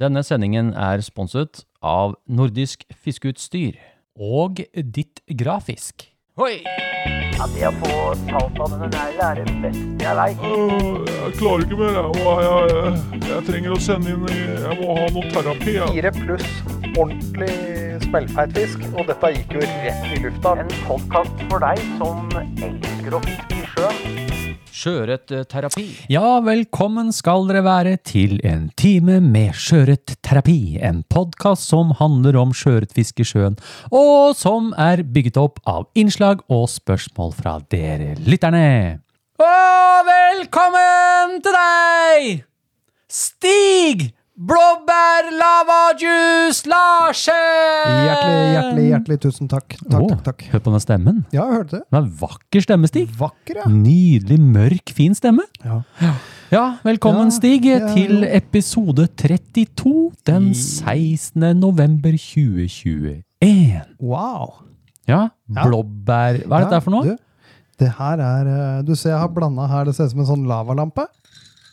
Denne sendingen er sponset av Nordisk Fiskeutstyr. Og ditt grafisk. Hoi! Ja, det å få talt av denne neglen er det beste jeg veit. Øh, Jeg klarer ikke mer. Jeg, må, jeg, jeg, jeg trenger å sende inn Jeg må ha noe terapi. Jeg. Fire pluss ordentlig smellfeit fisk, og dette gikk jo rett i lufta. En podkast for deg som elsker å fiske i sjøen. eh, Sjøørretterapi. Ja, velkommen skal dere være til en time med Sjøørretterapi. En podkast som handler om sjøørretfiske i sjøen, og som er bygget opp av innslag og spørsmål fra dere lytterne. Og velkommen til deg, Stig Blåbær Lava Juice Larsen! Hjertelig, Um, hjertelig, hjertelig tusen takk. Takk, takk, takk. Hør på den stemmen. Ja, jeg hørte det. Den er vakker stemme, Stig. Vakker, ja. Nydelig, mørk, fin stemme. ja. Ja, velkommen Ja, Stig ja, til jo. episode 32 den 16. november 2021. Wow. Ja, Ja. blåbær Hva er dette Ja, her for noe? Du, det her er eh, Du ser jeg har blanda her. Det ser ut som en sånn lavalampe.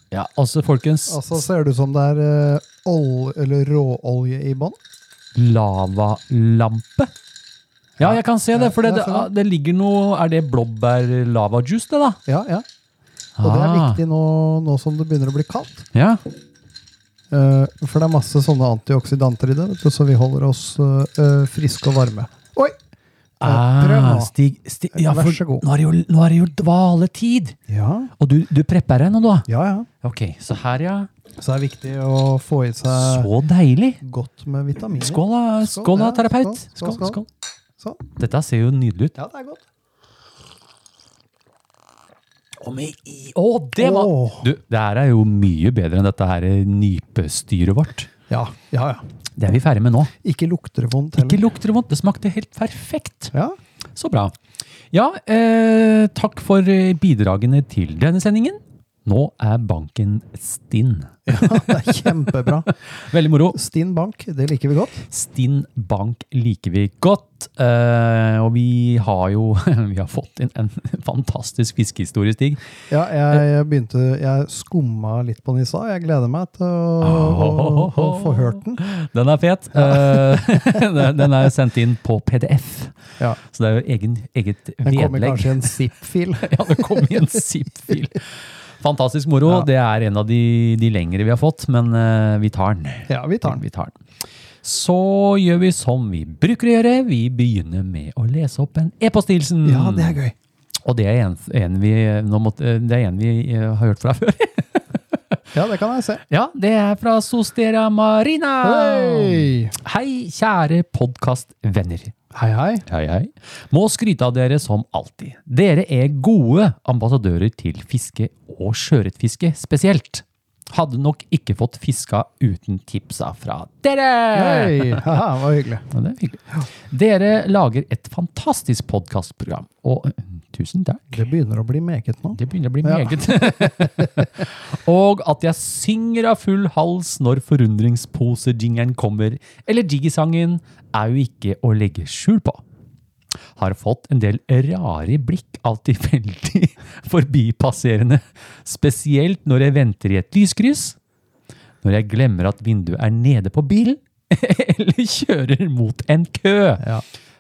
Ja, altså folkens, Og så ser det ut som det er eh, ol eller råolje i bånn. lavalampe. Ja, jeg kan se det, for det, ja, det, jeg ser det ligger noe Er det blåbær-lavajuice, det, da? Ja, ja. Og det er Ah, viktig nå, nå som det begynner å bli kaldt. Ja. Eh, for det er masse sånne antioksidanter i det, vet du, så vi holder oss eh, eh, friske og varme. Oi! Eh, prøv Ah, nå. Stig, Stig ja, Vær for så god. Nå er det jo, nå er det jo dvaletid! Ja, Og du, du prepper deg nå, du? da? ja. ja. Ok, så her, ja. Så det er viktig å få i seg Så deilig! godt med vitaminer. Skål da, Eh, Skål, skål, da, ja, terapeut. Skål, skål, skål, skål, skål. Sånn. Dette ser jo nydelig ut. Ja, det er godt. Å, men i- å, det var Åh. Du, det her er jo mye bedre enn dette her nypestyret vårt. Ja, ja, ja. Det er vi ferdig med nå. Ikke lukter det vondt Ikke heller. lukter det vondt. Det smakte helt perfekt. ja. Så bra. Ja, eh, takk for eh, bidragene til denne sendingen. Nå er banken stinn. ja, det er kjempebra. Veldig moro. Stinn bank, det liker vi godt. Stinn Bank liker vi godt. Eh, og vi har jo vi har fått inn en fantastisk fiskehistorie, Stig. Ja, jeg, jeg begynte, jeg skumma litt på den i stad. Jeg gleder meg til å, å, å få hørt den. Den er fet. Eh, den- den er sendt inn på PDF, Ja, så det er jo egen, eget den kommer vedlegg. kanskje i en zip-fil. ja, det kom i en zip-fil. Fantastisk moro. Ja. Det er en av de, de lengre vi har fått, men eh, vi tar den. Ja, vi tar den. Vi tar den. Så gjør vi som vi bruker å gjøre. Vi begynner med å lese opp en e-posthilsen. Ja, det er gøy. Og det er en, en, vi, eh, nå måtte, det er en vi eh, har hørt fra før. Ja, det kan jeg se. Ja, det er fra Sostera Marina. Hei! Hei, kjære podkastvenner. Hei, hei. Hei, hei. Må skryte av dere som alltid. Dere er gode ambassadører til fiske og sjøørretfiske spesielt. Hadde nok ikke fått fiska uten tipsa fra dere! Hei! Haha, det var hyggelig. Ja, det er hyggelig. Dere lager et fantastisk podkastprogram, og eh, tusen takk. Det begynner å bli meget nå. Det begynner å bli Ja. meget. og at jeg synger av full hals når forundringspose-jingeren kommer, eller jiggy-sangen, er jo ikke å legge skjul på. Har fått en del rare blikk av tilfeldig forbipasserende, spesielt når jeg venter i et lyskryss, når jeg glemmer at vinduet er nede på bilen, eller kjører mot en kø. Ja.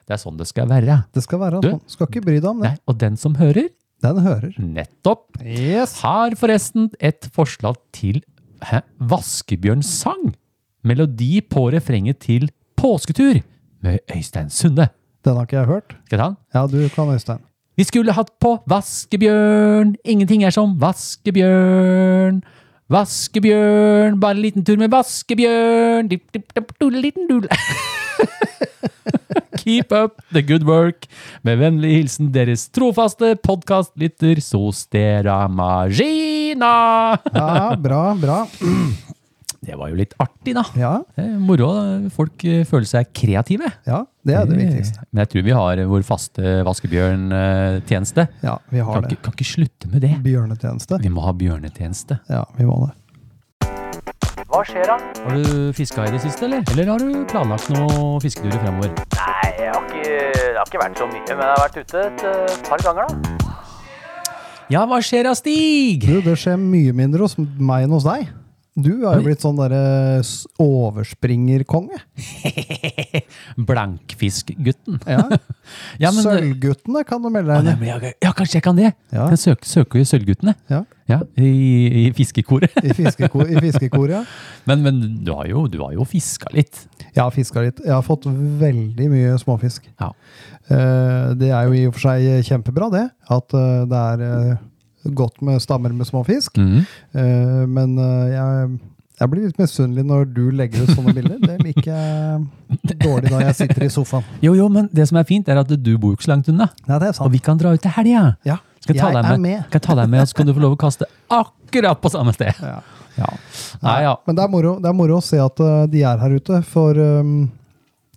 Det er sånn det skal være. Det skal være Du- sånn. Skal ikke bry deg om det. Nei, og den som hører, Den hører. nettopp Yes! har forresten et forslag til hæ, Vaskebjørns sang. Melodi på refrenget til Påsketur med Øystein Sunde. Den har ikke jeg hørt. Skal jeg ta den? Ja, du kan, Øystein. Vi skulle hatt på Vaskebjørn. Ingenting er som Vaskebjørn. Vaskebjørn, bare en liten tur med Vaskebjørn. Dip, dip, dip, dul, liten dul. Keep up the good work. Med vennlig hilsen deres trofaste podkastlytter Sostera Magina. Ja, bra, bra. Det var jo litt artig, da. Ja, Det er Moro. Folk eh, føler seg kreative. Eh, ja. Det er det viktigste. Men jeg tror vi har vår faste Vaskebjørn-tjeneste. Ja, vi har Kan, det. ikke- kan ikke slutte med det. Bjørnetjeneste. Vi må ha bjørnetjeneste. Ja, vi må det. Hva skjer da? Har du fiska i det siste, eller? Eller har du planlagt noen fisketurer fremover? Nei, jeg har ikke, det har ikke vært så mye, men jeg har vært ute et eh, par ganger, da. Ja, hva skjer da, Stig? Du, det skjer mye mindre hos meg enn hos deg. Du er jo blitt sånn derre s- overspringerkonge. Blankfiskgutten. Ja. Ja, men, Sølvguttene kan du melde Ja, deg nei, inn i. men jeg, ja, kanskje jeg kan det. Ja. Jeg søker, søker jo Sølvguttene. Ja. Ja, i, I fiskekoret. I fiskeko- i fiskekoret, ja. Men, men du har jo, du har jo fiska litt. Jeg har fiska litt. Jeg har fått veldig mye småfisk. Ja. Eh, Det er jo i og for seg kjempebra, det. At eh, det er eh, godt med stammer med småfisk. Mhm. Eh, Men eh, jeg, jeg blir litt misunnelig når du legger ut sånne bilder. Det liker jeg dårlig når jeg sitter i sofaen. Jo, jo, men det som er fint, er at du bor jo ikke så langt unna. Nei, det er Og sant. vi kan dra ut til helga. Ja, Skal jeg ta jeg deg er med? med. Skal jeg ta deg med, og så kan du få lov å kaste akkurat på samme sted. Ja. Ja. Nei, ja. Men det er, moro, det er moro å se at eh, de er her ute, for ehm,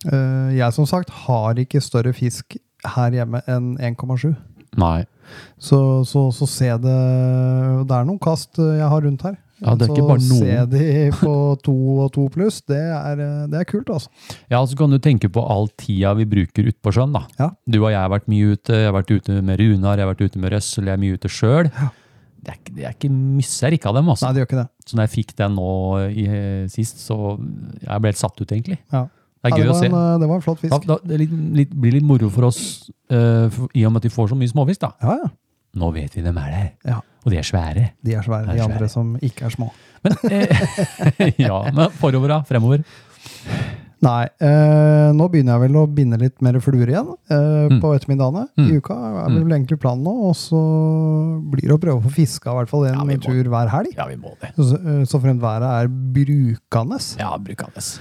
eh, jeg som sagt har ikke større fisk her hjemme enn 1,7. Nei. Så, så, så se det Det er noen kast eh, jeg har rundt her. Ja, det er så ikke bare noen. se de på to og to pluss, det er, eh, det er kult, altså. Ja, og så kan du tenke på all tida vi bruker ute på sjøen, da. Ja. Du og jeg har vært mye ute. Jeg har vært ute med Runar, jeg har vært ute med Røssel, jeg er mye ute sjøl. Det er ikke, det er ikke misser ikke av dem, altså. Nei, det gjør ikke det. Så når jeg fikk den nå i, sist, så jeg ble helt satt ut, egentlig. Ja. Det er Nei, gøy det, å var se. en, eh, det var en flott Da, fisk. da, det er litt, litt, blir litt moro for oss, eh, for, i og med at de får så mye småfisk, da. Ja, ja. Nå vet vi dem er der, Ja. og de er svære. De er svære, De er de svære. andre som ikke er små. Men, eh, ja, men forover, da. Fremover. Nei, eh, nå begynner jeg vel å binde litt mer fluer igjen eh, Mm. på ettermiddagene. Mm. I uka er vel egentlig planen nå, og så blir det å prøve å få fiska i hvert fall en Ja, vi må. tur hver helg. Ja, vi må det. Så, eh, så fremt været er brukende. Ja, brukende.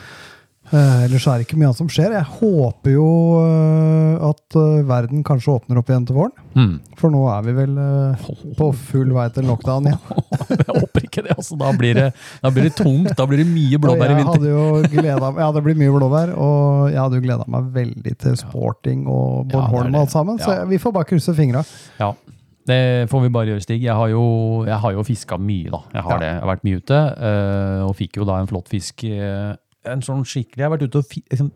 Eh, ellers er det ikke mye annet som skjer. Jeg håper jo eh, at eh, verden kanskje åpner opp igjen til våren. Mm. For nå er vi vel eh, på full vei til lockdown igjen. Jeg håper ikke det, altså. Da blir det, da blir det tungt. Da blir det mye Og blåbær i jeg vinter. hadde jo gleda meg, ja, det blir mye blåbær, og jeg hadde jo gleda meg veldig til sporting Ja, og det er Bård Holm det. og alt sammen, så Ja. vi får bare krysse fingra. Ja, det får vi bare gjøre, Stig. Jeg har jo, jeg har jo fiska mye, da. Jeg har Ja. det. Jeg har vært mye ute, eh, og fikk jo da en flott fisk. eh, en sånn skikkelig Jeg har vært ute og fi, liksom,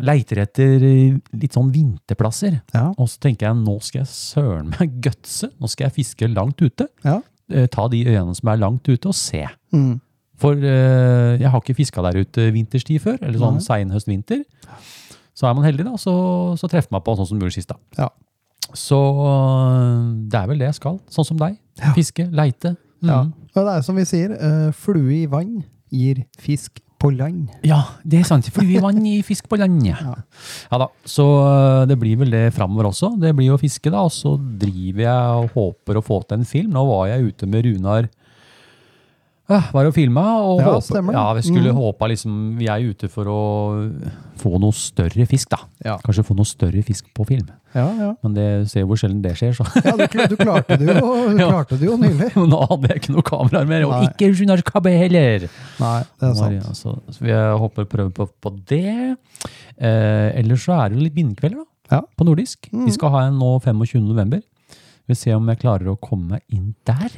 leiter etter eh, litt sånn vinterplasser. Ja. Og så tenker jeg nå skal jeg søren meg gutse. Nå skal jeg fiske langt ute. Ja. Eh, ta de øyene som er langt ute, og se. Mm. For eh, jeg har ikke fiska der ute vinterstid før, eller sånn seinhøst-vinter. Så er man heldig, da, så, så treffer man på sånn som du gjorde sist. da. Ja. Så øh, det er vel det jeg skal. Sånn som deg. Ja. Fiske, leite. Mm. Ja. Og det er som vi sier, eh, flue i vann gir fisk på land. Ja, det er sant. Flue i vann i fisk på land. Ja. ja da. Så øh, det blir vel det framover også. Det blir jo fiske, da. Og så driver jeg og håper å få til en film. Nå var jeg ute med Runar. øh, Var og filma. Og Ja, håper- stemmer Mm. det. ja, vi skulle håpa liksom Vi er ute for å få noe større fisk, da. Ja. Kanskje få noe større fisk på film. Ja, ja. Men det ser jo hvor sjelden det skjer, så. ja du, kl- du klarte det jo, du Ja. klarte det jo nylig. Men nå hadde jeg ikke noe kameraer mer, og Nei. ikke Runar Kabbe heller. Nei, det er sant. Maria, så, så vi håper å prøve på, på det. Eh, ellers så er det jo litt vindkvelder da, Ja. Mm. på nordisk. Vi skal ha en nå 25. november. Vi ser om jeg klarer å komme meg inn der.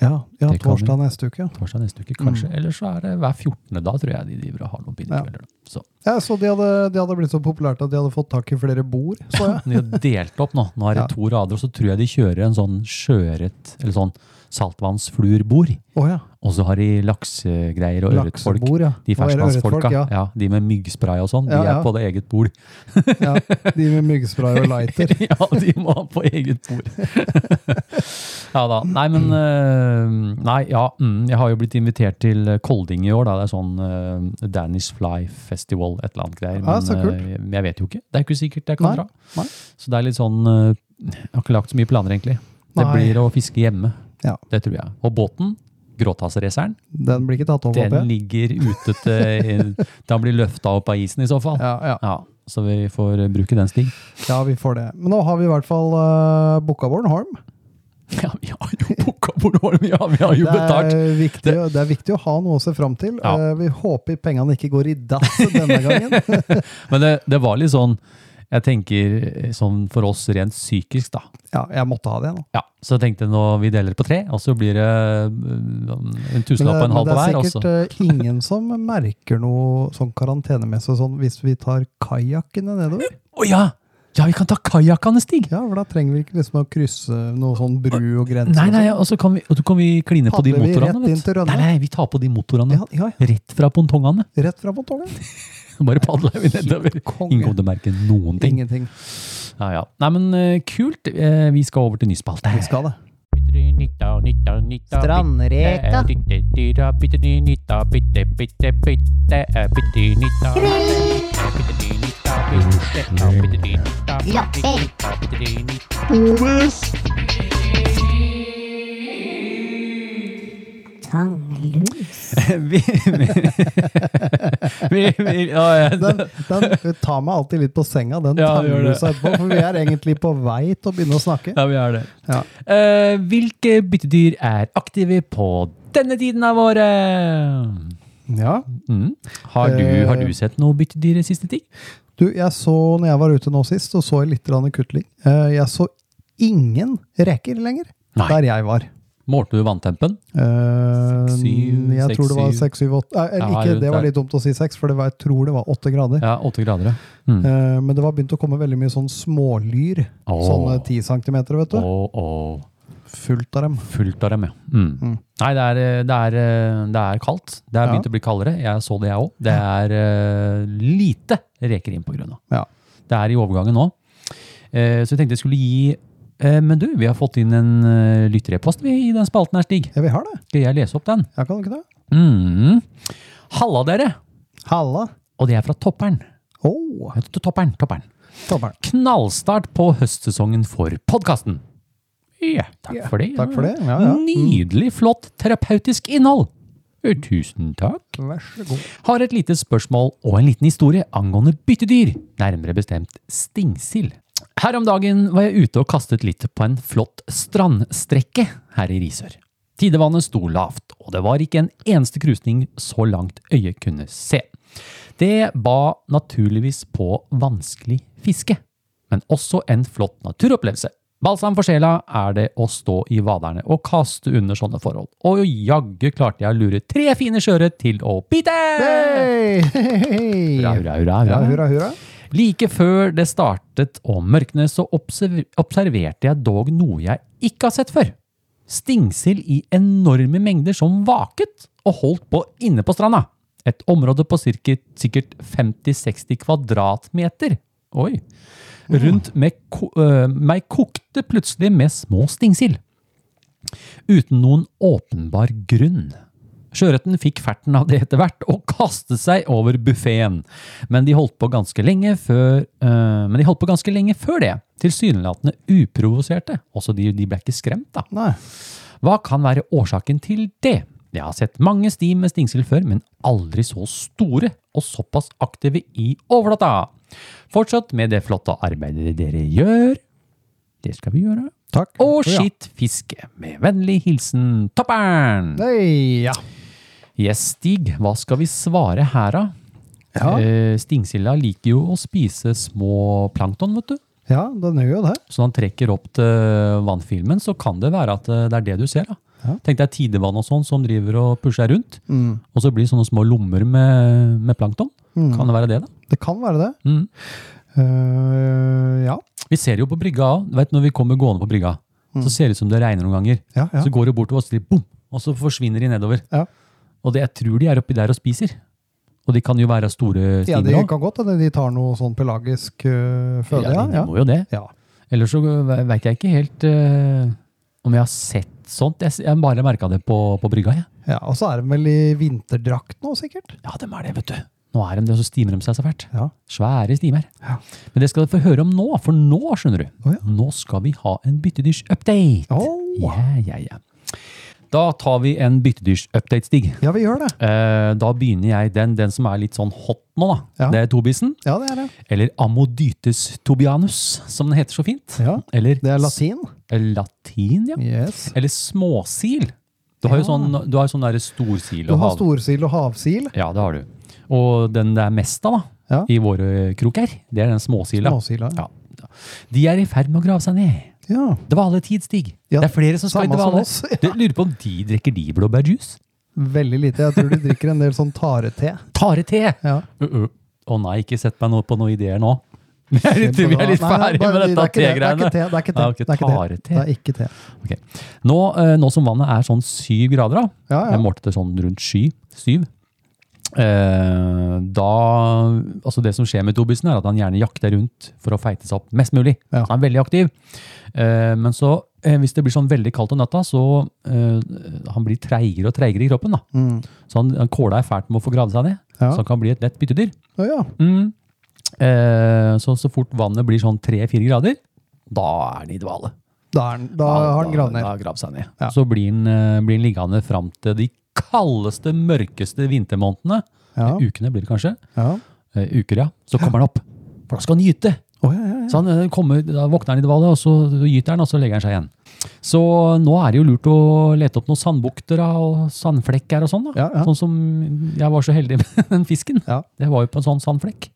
Ja, ja Det kan vi. torsdag neste uke. ja. Torsdag neste uke, kanskje. Mm. Eller så er det hver 14. da, tror jeg de driver og har noen vindkvelder. da. Så Ja, så de hadde, de hadde blitt så populært at de hadde fått tak i flere bord, så jeg. de har delt opp nå. Nå er det Ja. to rader, og så tror jeg de kjører en sånn sjøørret, eller sånn saltvannsflurbord. Å ja. Og så har de laksegreier og ørretfolk. Laksebord, De ja. Og er det ferskvannsfolka, ørretfolk, ja. ja. de med myggspray og sånn, Ja, de er ja. på det eget bord. ja. De med myggspray og lighter. ja, de må ha på eget bord. ja da. Nei, men eh, Nei, ja. Mm, jeg har jo blitt invitert til Kolding i år. Da. Det er sånn eh, Danish Fly Festival, et eller annet greier. Ja, så eh, kult. jeg- jeg vet jo ikke. Det er ikke sikkert jeg kan Nei, dra. nei. Så det er litt sånn eh, Jeg har ikke lagt så mye planer, egentlig. Det Nei. blir å fiske hjemme. Ja. Det tror jeg. Og båten, Gråtassraceren, Den blir ikke tatt opp, den håper jeg. ligger ute til Den blir løfta opp av isen, i så fall. Ja, ja. Ja, så vi får bruke den, Stig. ja, vi får det. Men nå har vi i hvert fall uh, booka Born Holm. Ja, vi har jo booka bort Holm, ja, vi har jo Det betalt. er, viktig, det er viktig å ha noe å se fram til. Ja. Eh, vi håper pengene ikke går i dass denne gangen. Men det, det var litt sånn, jeg tenker eh, sånn for oss rent psykisk da. Ja, jeg måtte ha det nå. Ja, så jeg tenkte nå vi deler på tre, og så blir det eh, en Men det, tusenlapp og en men halv det på er hver. altså. og sikkert så- eh, ingen som merker noe sånn karantenemessig sånn hvis vi tar kajakkene nedover. Å ja! Ja, vi kan ta kajakkene, Stig! Ja, for da trenger vi ikke liksom å krysse noe sånn bru og sånn. grense. Nei, nei, og så kan vi, og så kan vi kline på de Padler vi motorene. rett vet inn til du. Rønne? Nei, nei, vi tar på de motorene. Ja, ja, Rett fra pontongene. ja. Rett fra motoren. Bare padler vi nedover. konge. Ingen kommer til å merke noen ting. Ingenting. Ja, ja. Nei, men eh, kult. Eh, Vi skal over til ny spalte. Vi skal det. Strandreka. eh. Tanglus. Vi, vi, vi, ja, ja. Den, den tar meg alltid litt på senga, den Ja, ja, det gjør seg etterpå. For vi er egentlig på vei til å begynne å snakke. ja, vi er det. Ja. Eh, hvilke byttedyr er aktive på denne tiden av året? Ja. Mm. Har, du, Eh. har du sett noe byttedyr i siste tid? Du, jeg så, når jeg var ute nå sist, så så jeg litt grann kutling. Eh, Jeg så ingen reker lenger Nei. der jeg var. Målte du vanntempen? Eh, Seks, syv, jeg seks, tror det var syv. 6, 7, 8 Nei, eller Ja, ikke, rundt Det var der. litt dumt å si 6, for det var, jeg tror det var 8 grader. Ja, åtte grader, ja. Mm. Eh, Men det var begynt å komme veldig mye sånn smålyr. Åh. Sånne 10 cm, vet du. Og, og Fullt av dem. fullt av dem, ja. Mm. Nei, det er, eh, det, er, eh, det er kaldt. Det er Ja. begynt å bli kaldere. Jeg så det, jeg òg. Det er eh, lite reker inn på grunna. Ja. Det er i overgangen nå. Eh, så jeg tenkte jeg skulle gi eh, Men du, vi har fått inn en uh, lytterepost vi, i den spalten her, Stig. Ja, vi har det. Skal jeg lese opp den? Jeg kan ikke det. Mm. Halla, dere! Halla. Og det er fra Topperen. Oh, Vet du, Topperen, Topperen. tommeren. Knallstart på høstsesongen for podkasten. Ja, takk Ja, for det. takk for det. Ja, ja. Mm. Nydelig, flott, terapeutisk innhold. Eh, Tusen takk. Vær så god. Har et lite spørsmål og en liten historie angående byttedyr, nærmere bestemt stingsild. Her om dagen var jeg ute og kastet litt på en flott strandstrekke her i Risør. Tidevannet sto lavt, og det var ikke en eneste krusning så langt øyet kunne se. Det ba naturligvis på vanskelig fiske, men også en flott naturopplevelse. Balsam for sjela er det å stå i vaderne og kaste under sånne forhold, og jaggu klarte jeg å lure tre fine sjøørret til å bite! Hei! Hurra, Hurra, hurra, hurra, hurra. hurra, hurra. Like før det startet å mørkne, så observ- observerte jeg dog noe jeg ikke har sett før. Stingsild i enorme mengder som vaket og holdt på inne på stranda. Et område på cirka, sikkert 50-60 kvadratmeter. Oi. Rundt meg, ko øh, meg kokte plutselig med små stingsild. Uten noen åpenbar grunn. Sjøørreten fikk ferten av det etter hvert og kastet seg over buffeen. Men de holdt på ganske lenge før, eh, men de holdt på ganske lenge før det. Tilsynelatende uprovoserte. Også de, de ble ikke skremt, da. Nei. Hva kan være årsaken til det? Jeg har sett mange sti med stingsild før, men aldri så store og såpass aktive i overflata. Fortsatt med det flotte arbeidet dere gjør. Det skal vi gjøre. Takk. Og Ja. skitt fiske. Med vennlig hilsen Topperen! Nei, ja. Yes, Stig, hva skal vi svare her, da? Ja. Eh, Stingsilda liker jo å spise små plankton, vet du. ja, den gjør jo det. Så når han trekker opp til vannfilmen, så kan det være at eh, det er det du ser. da. Tenk deg tidevann og sånn som driver og pusher rundt. Mm. Og så blir det sånne små lommer med, med plankton. Kan det være det, da? Det kan være det. Mm. Eh, ja. Vi ser jo på brygga òg. Vet du, når vi kommer gående på brygga, så ser det ut som det regner noen ganger. Ja, Mm. ja. Så går det bortover, og så sier det bom, og så forsvinner de nedover. Ja. Og det, jeg tror de er oppi der og spiser. Og de kan jo være store ja, stimer det også. kan godt hende de tar noe sånn pelagisk øh, føde. Ja, Ja, de ja. må jo det. ja. Ellers så veit jeg ikke helt eh, om jeg har sett sånt. Jeg, s- jeg bare merka det på, på brygga. jeg. ja Og så er de vel i vinterdrakt nå, sikkert. Ja, dem er det, vet du. Nå er de det, og så stimer de seg så fælt. Ja. Svære stimer. Ja. Men det skal du få høre om nå, for nå skjønner du. Å, ja. Nå skal vi ha en byttedyrsupdate. Å. Ja, ja, ja. Da tar vi en byttedyrsupdate, Stig. Ja, vi gjør det. Eh, da begynner jeg den, den som er litt sånn hot nå, da. Ja. Det er tobisen. Ja, det er det. Eller Amodytes tobianus, som den heter så fint. Ja, Eller Det er latin. Latin, ja. Yes. Eller småsil. Du har jo Ja. sånn, du har jo sånn der storsil Du og har hav. storsil og havsil. Ja, det har du. Og den det er mest av, da, Ja. i våre kroker, det er den småsila. Småsila. Ja. De er i ferd med å grave seg ned. Ja. Dvaletid, Stig. Ja, det er flere som skal i samme som dvale. oss, ja. Du lurer på om de drikker de blåbærjuice? Veldig lite. Jeg tror de drikker en del sånn tarete. Tarete! Ja. Uh, Å nei, ikke sett meg noe på noen ideer nå. Vi er litt, vi er litt Nei, nei, ferdig med bare- dette det er ikke tegreiene. det, Det er ikke te. Det er ikke te. Tarete. Det er ikke te. Nå, eh, nå som vannet er sånn syv grader, da, Ja, ja. jeg målte det sånn rundt sky, syv, eh, da, altså det som skjer med tobisen er at han gjerne jakter rundt for å feite seg opp mest mulig. Ja. Så han er veldig aktiv. Eh, men så, eh, hvis det blir sånn veldig kaldt om natta, så eh, han blir treigere og treigere i kroppen. Da. Mm. Så han, han kåla er fælt med å få gravd seg ned, Ja. så han kan bli et lett byttedyr. Å ja. Mm. Eh, så, så fort vannet blir sånn 3-4 grader, da er han i dvale. Da, er, den- da Ja, har den gravd Da ned. har han gravd seg ned. Ja. Så blir den, eh, blir den liggende fram til de kaldeste, mørkeste vintermånedene. Ja. Ukene blir det kanskje. Ja. Eh, uker, ja. Så kommer han opp. For da skal han gyte. Å, ja, ja, ja. Så han eh, kommer, da våkner han i dvale, og så gyter han, og så legger han seg igjen. Så nå er det jo lurt å lete opp noen sandbukter da, og sandflekker og sånn. da. Ja, ja. Sånn som jeg var så heldig med den fisken. Ja. Det var jo på en sånn sandflekk.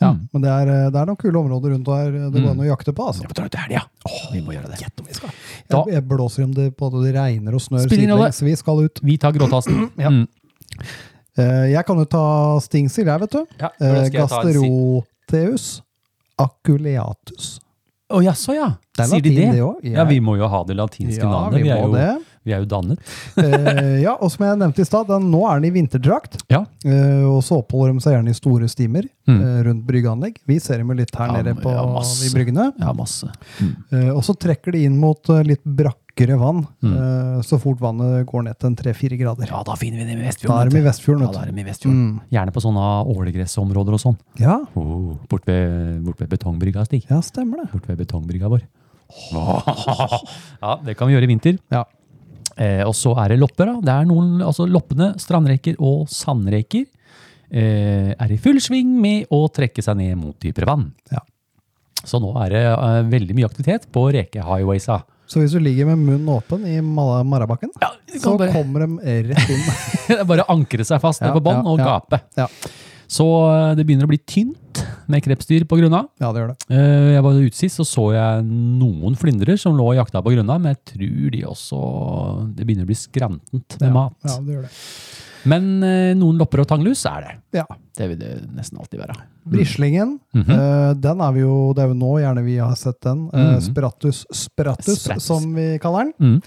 Ja, Mm. men det er, eh, det er noen kule områder rundt her eh, det går an å jakte på. altså. Vi må dra ut i helga. Vi må gjøre det. Da- Jeg, jeg blåser om det både det regner og snør Spiller ingen rolle. sidelengs. Vi skal ut. Vi tar gråtassen. Mm. Eh, Jeg kan jo ta stingsild, jeg, vet du. Ja, Eh, skal jeg ta en si- Gasteroteus aculeatus. Å jaså, ja. Det er Sier de latin, det? det også. Ja. Ja. vi må jo ha det latinske navnet. Vi er, jo, det. vi er jo dannet. Eh, ja, og som jeg nevnte i stad, den- nå er den i vinterdrakt. Ja. Eh, og så oppholder de seg gjerne i store stimer Mm. eh, rundt bryggeanlegg. Vi ser dem jo litt her Ja, nede på, ja, masse. i bryggene. ja, masse. Eh, og så trekker de inn mot eh, litt brakkere vann, Mm. eh, så fort vannet går ned til en 3-4 grader. Ja, da finner vi dem i da Vestfjorden. er de i vet du. Vestfjorden, Ja, da er vet du. de i Vestfjorden. Mm. Gjerne på sånne ålegressområder og sånn. Ja, Oh, bort, ved, bort ved betongbrygga, Stig. ja, stemmer det. Bort ved betongbrygga vår. ja, det kan vi gjøre i vinter. Ja. Eh, og så er det lopper, da. Det er noen, altså Loppene, strandreker og sandreker eh, er i full sving med å trekke seg ned mot dypere vann. Ja. Så nå er det eh, veldig mye aktivitet på rekehighwaysa. Så hvis du ligger med munnen åpen i Mala- Marabakken, så kommer de rett inn. Det er bare å ankre seg fast ned Ja, på bånn ja, og ja. gape. Ja. Så eh, det begynner å bli tynt med krepsdyr på grunna. Ja, det gjør det. Eh, Jeg var ute sist, så så jeg noen flyndrer som lå og jakta på grunna, men jeg tror de også Det begynner å bli skrantent med mat. Ja, det gjør det. Men eh, noen lopper og tanglus er det. Ja. Det vil det nesten alltid være. Brislingen, Mm. Mhm. eh, den er vi jo, det er jo nå gjerne vi har sett den. Eh, Mhm. Spratus spratus, Spratus. som vi kaller den. Mm.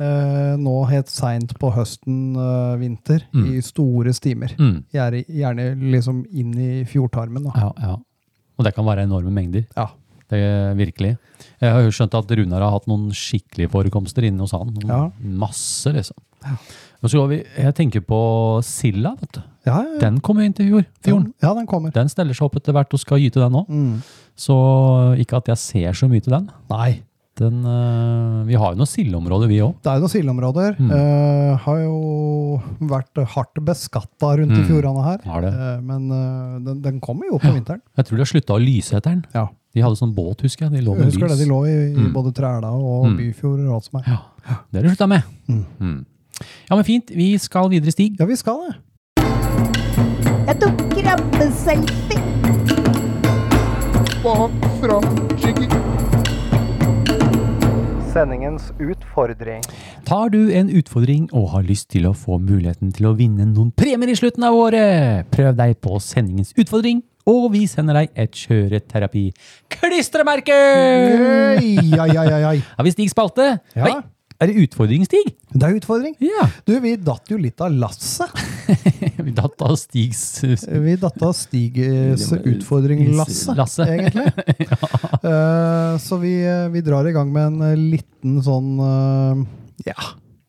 Eh, nå helt seint på høsten, eh, vinter, Mm. i store stimer. Mm. Gjerne, gjerne liksom inn i fjordtarmen. Da. Ja, ja. Og det kan være enorme mengder. Ja. Det er Virkelig. Jeg har jo skjønt at Runar har hatt noen skikkelige forekomster inne hos han. Noen Ja. Masse, liksom. Ja. Men så går vi, jeg tenker på silda, vet du. Ja, ja, ja. Den kom jo inn til fjor- fjorden. Den- Ja, den kommer. Den steller seg opp etter hvert og skal gyte den òg. Mm. Så ikke at jeg ser så mye til den. Nei. den eh, vi har jo noen sildeområder, vi òg. Det er jo noen sildeområder. Mm. eh, har jo vært hardt beskatta rundt i Mm. fjordene her. Har det. Eh, men eh, den, den kommer jo på vinteren. Jeg tror de har slutta å lyse etter den. Ja. De hadde sånn båt, husker jeg. De lå Jeg med husker lys. det, de lå i, i Mm. både Træla og Mm. Byfjord og alt som er. Ja, det har de slutta med. Mm. Mm. Ja, men fint. Vi skal videre, Stig. Ja, vi skal det. Jeg tok krabbeselfie. Sendingens utfordring. Tar du en utfordring og har lyst til å få muligheten til å vinne noen premier i slutten av året, prøv deg på sendingens utfordring, og vi sender deg et kjøreterapi-klistremerke! Øy, ai, ai, ai, ai. Har vi Stig spalte? Ja. Nei, er det utfordring, Stig? Det er utfordring. Ja. Du, vi datt jo litt av lasset. Vi datt av Stigs Vi datt av Stigs utfordring lasset, Lasse. egentlig. Eh, så vi, eh, vi drar i gang med en eh, liten sånn eh, ja,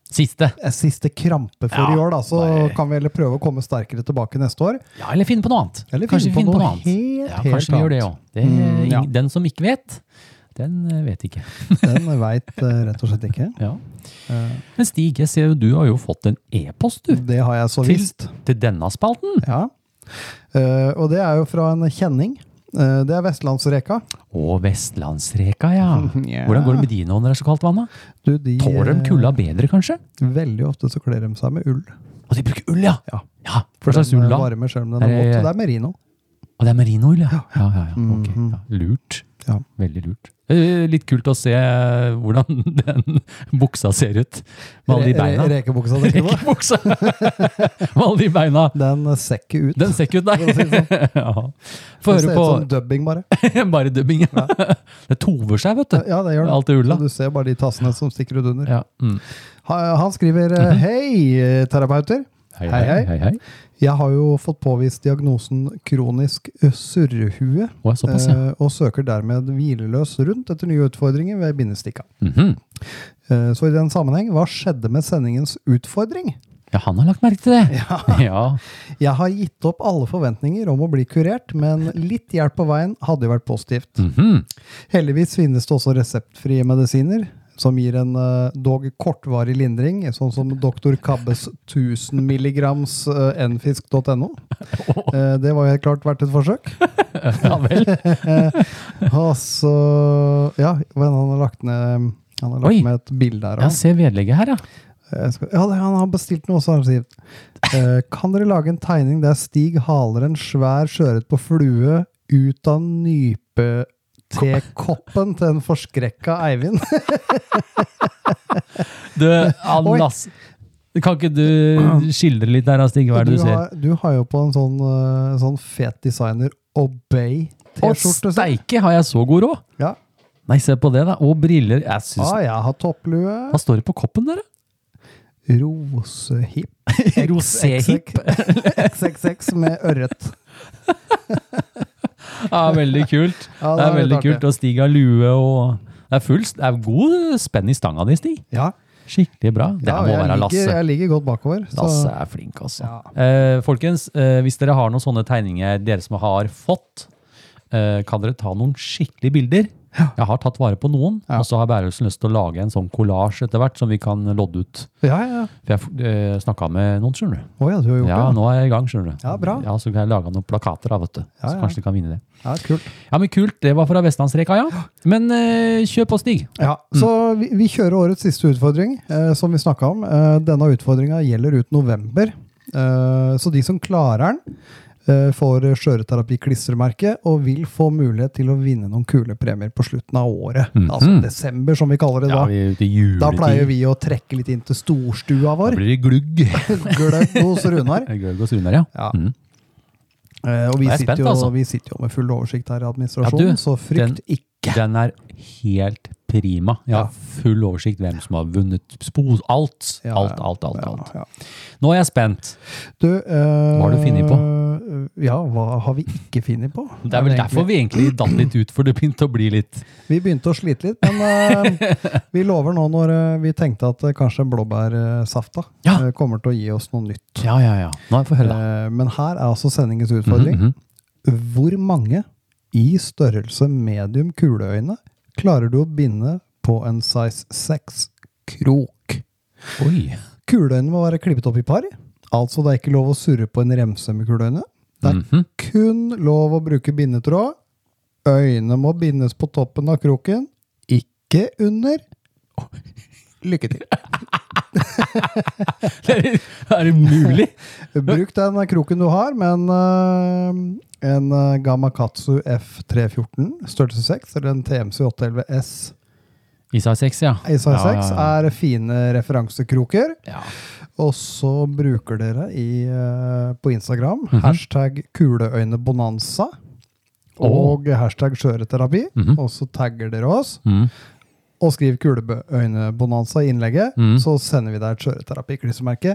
siste. en eh, siste krampe for Ja, i år, da. Så nei. kan vi heller prøve å komme sterkere tilbake neste år. Ja, eller finne på noe annet. Eller kanskje vi finne finner på på noe noe annet. helt, ja, helt kanskje vi gjør det òg. Det, Mm, ja. Den som ikke vet, den eh, vet ikke. Den veit eh, rett og slett ikke. Ja. Eh, Men Stig, jeg ser jo du har jo fått en e-post du, Det har jeg så Til- visst. til denne spalten. Ja. Eh, og det er jo fra en kjenning. Eh, det er Vestlandsreka. Og Vestlandsreka, ja. Ja. Hvordan går det med de nå når det er så kaldt vann? da? Du, de, Tåler de eh, kulda bedre, kanskje? Veldig ofte så kler de seg med ull. Og de bruker ull, ja! Ja. ja Hva slags Den, ull eh, da? Varmer selv om den Er er det- våt. Det er merino. Å Og det er merinoil, ja. Ja, ja, ja. ok, ja. Lurt. Mhm. Ja. Veldig lurt. Eh, Litt kult å se eh, hvordan den buksa ser ut. Med alle de beina. Re- Rekebuksa tenker du på? Rekebuksa! Med alle de beina. Den ser ikke ut. Den ser ikke ut, nei. ja. Få Den høre sånn. ser ut som på dubbing, bare. bare dubbing. ja. Det tover seg, vet du. Ja, det gjør den. Alt det ulla. Så Du ser bare de tassene som stikker ut under. Ja. Mm. Ha- Han skriver Mhm. eh, Hei, terapeuter. Hei, Hei, hei. hei, hei. Jeg har jo fått påvist diagnosen kronisk ø, surrehue, Å, såpass, ja. eh, og søker dermed hvileløs rundt etter nye utfordringer ved bindestikka. Mhm. Eh, Så i den sammenheng, hva skjedde med sendingens utfordring? Ja, han har lagt merke til det. Ja. Jeg har gitt opp alle forventninger om å bli kurert, men litt hjelp på veien hadde jo vært positivt. Mhm. Heldigvis finnes det også reseptfrie medisiner som gir en eh, dog kortvarig lindring, sånn som Dr. Kabbes 1000 milligrams eh, enfisk.no. Eh, det var jo helt klart verdt et forsøk. ja vel. Og så Ja, men han har lagt ned han har lagt Oi. med et bilde her. Ja, også. se vedlegget her, ja. Jeg skal- Ja, det- han har bestilt noe, så har han sagt eh, Kan dere lage en tegning der Stig haler en svær sjøørret på flue ut av nypetekoppen til en forskrekka Eivind? Du, Alnas. Kan ikke du skildre litt der, da, Stig, hva er det du ser? Har, du har jo på en sånn, eh, sånn fet designer Å, Obey-T-skjorte. ser jeg. steike! Har jeg så god råd? Ja. Nei, se på det, da. Og briller. Jeg syns Ah, jeg har topplue. Hva står det på koppen der, da? Rosehipp. Roséhipp. XXX med ørret. Ja, veldig kult. det er Ja, det var litt veldig artig. kult å stige av lue og Det er, full, det er god spenn i stanga di, Stig. Ja, Skikkelig bra. Det ja her må jeg, være ligger, Lasse. jeg ligger godt bakover. Så. Lasse er flink, altså. Eh, folkens, eh, hvis dere har noen sånne tegninger dere som har fått, eh, kan dere ta noen skikkelige bilder. Jeg har tatt vare på noen, Ja. og så har Bærelsen lyst til å lage en sånn kollasj etter hvert som vi kan lodde ut. Ja, ja. For jeg eh, snakka med noen, skjønner du. Å ja, du har gjort Ja, det. nå er jeg i gang, skjønner du. Ja, bra. Ja, Så kan jeg lage noen plakater, da, vet du. Ja, Så ja. kanskje de kan vinne det. Ja, kult. Ja, men kult. Det var fra Vestlandsreka, ja. Men eh, kjør på, Stig. Ja, så vi, vi kjører årets siste utfordring, eh, som vi snakka om. Eh, denne utfordringa gjelder ut november. Eh, så de som klarer den, eh, får skjøreterapi-klistremerke og vil få mulighet til å vinne noen kule premier på slutten av året. Altså desember, som vi kaller det da. Mhm. vi er ute i juletid. da pleier vi å trekke litt inn til storstua Da vår. blir det glugg. Gløgg hos Runar. Gløgg og surner, ja. Ja. Mm. Eh, og vi Jeg er sitter, spent, jo, altså. vi sitter jo med full oversikt her i Ja, administrasjonen, du, så frykt den- ikke. Den er helt prima. Jeg har Ja. full oversikt hvem som har vunnet spos. Alt, Ja, alt, ja. alt, alt, Ja, alt. ja. Nå er jeg spent. Du, eh, Hva har du funnet Ja, hva har vi ikke funnet på? Det er vel derfor vi egentlig datt litt ut, for det begynte å bli litt Vi begynte å slite litt, men eh, vi lover nå når eh, vi tenkte at eh, kanskje blåbærsafta Ja. eh, kommer til å gi oss noe nytt. Ja, ja, ja. Nå får jeg høre, da. Eh, men her er altså sendingens Mhm, utfordring. Hvor mange i størrelse medium kuleøyne klarer du å binde på en size 6-krok? Oi. Kuleøynene må være klippet opp i par, altså det er ikke lov å surre på en remse med kuleøyne. Det er Mhm. kun lov å bruke bindetråd. Øynene må bindes på toppen av kroken, ikke under. Lykke til. Er det mulig? Bruk den kroken du har, men eh, en eh, Gamakatsu F314 størrelse 6 eller en TMC 811S Isa 6, ja. Isa 6 ja, ja. er fine referansekroker. ja. Og så bruker dere i, eh, på Instagram hashtag kuleøynebonanza og hashtag skjøreterapi. Og så tagger dere oss. Mhm. Og skriv kuleøynebonanza i innlegget, Mhm. så sender vi deg et skjøreterapi-klistremerke.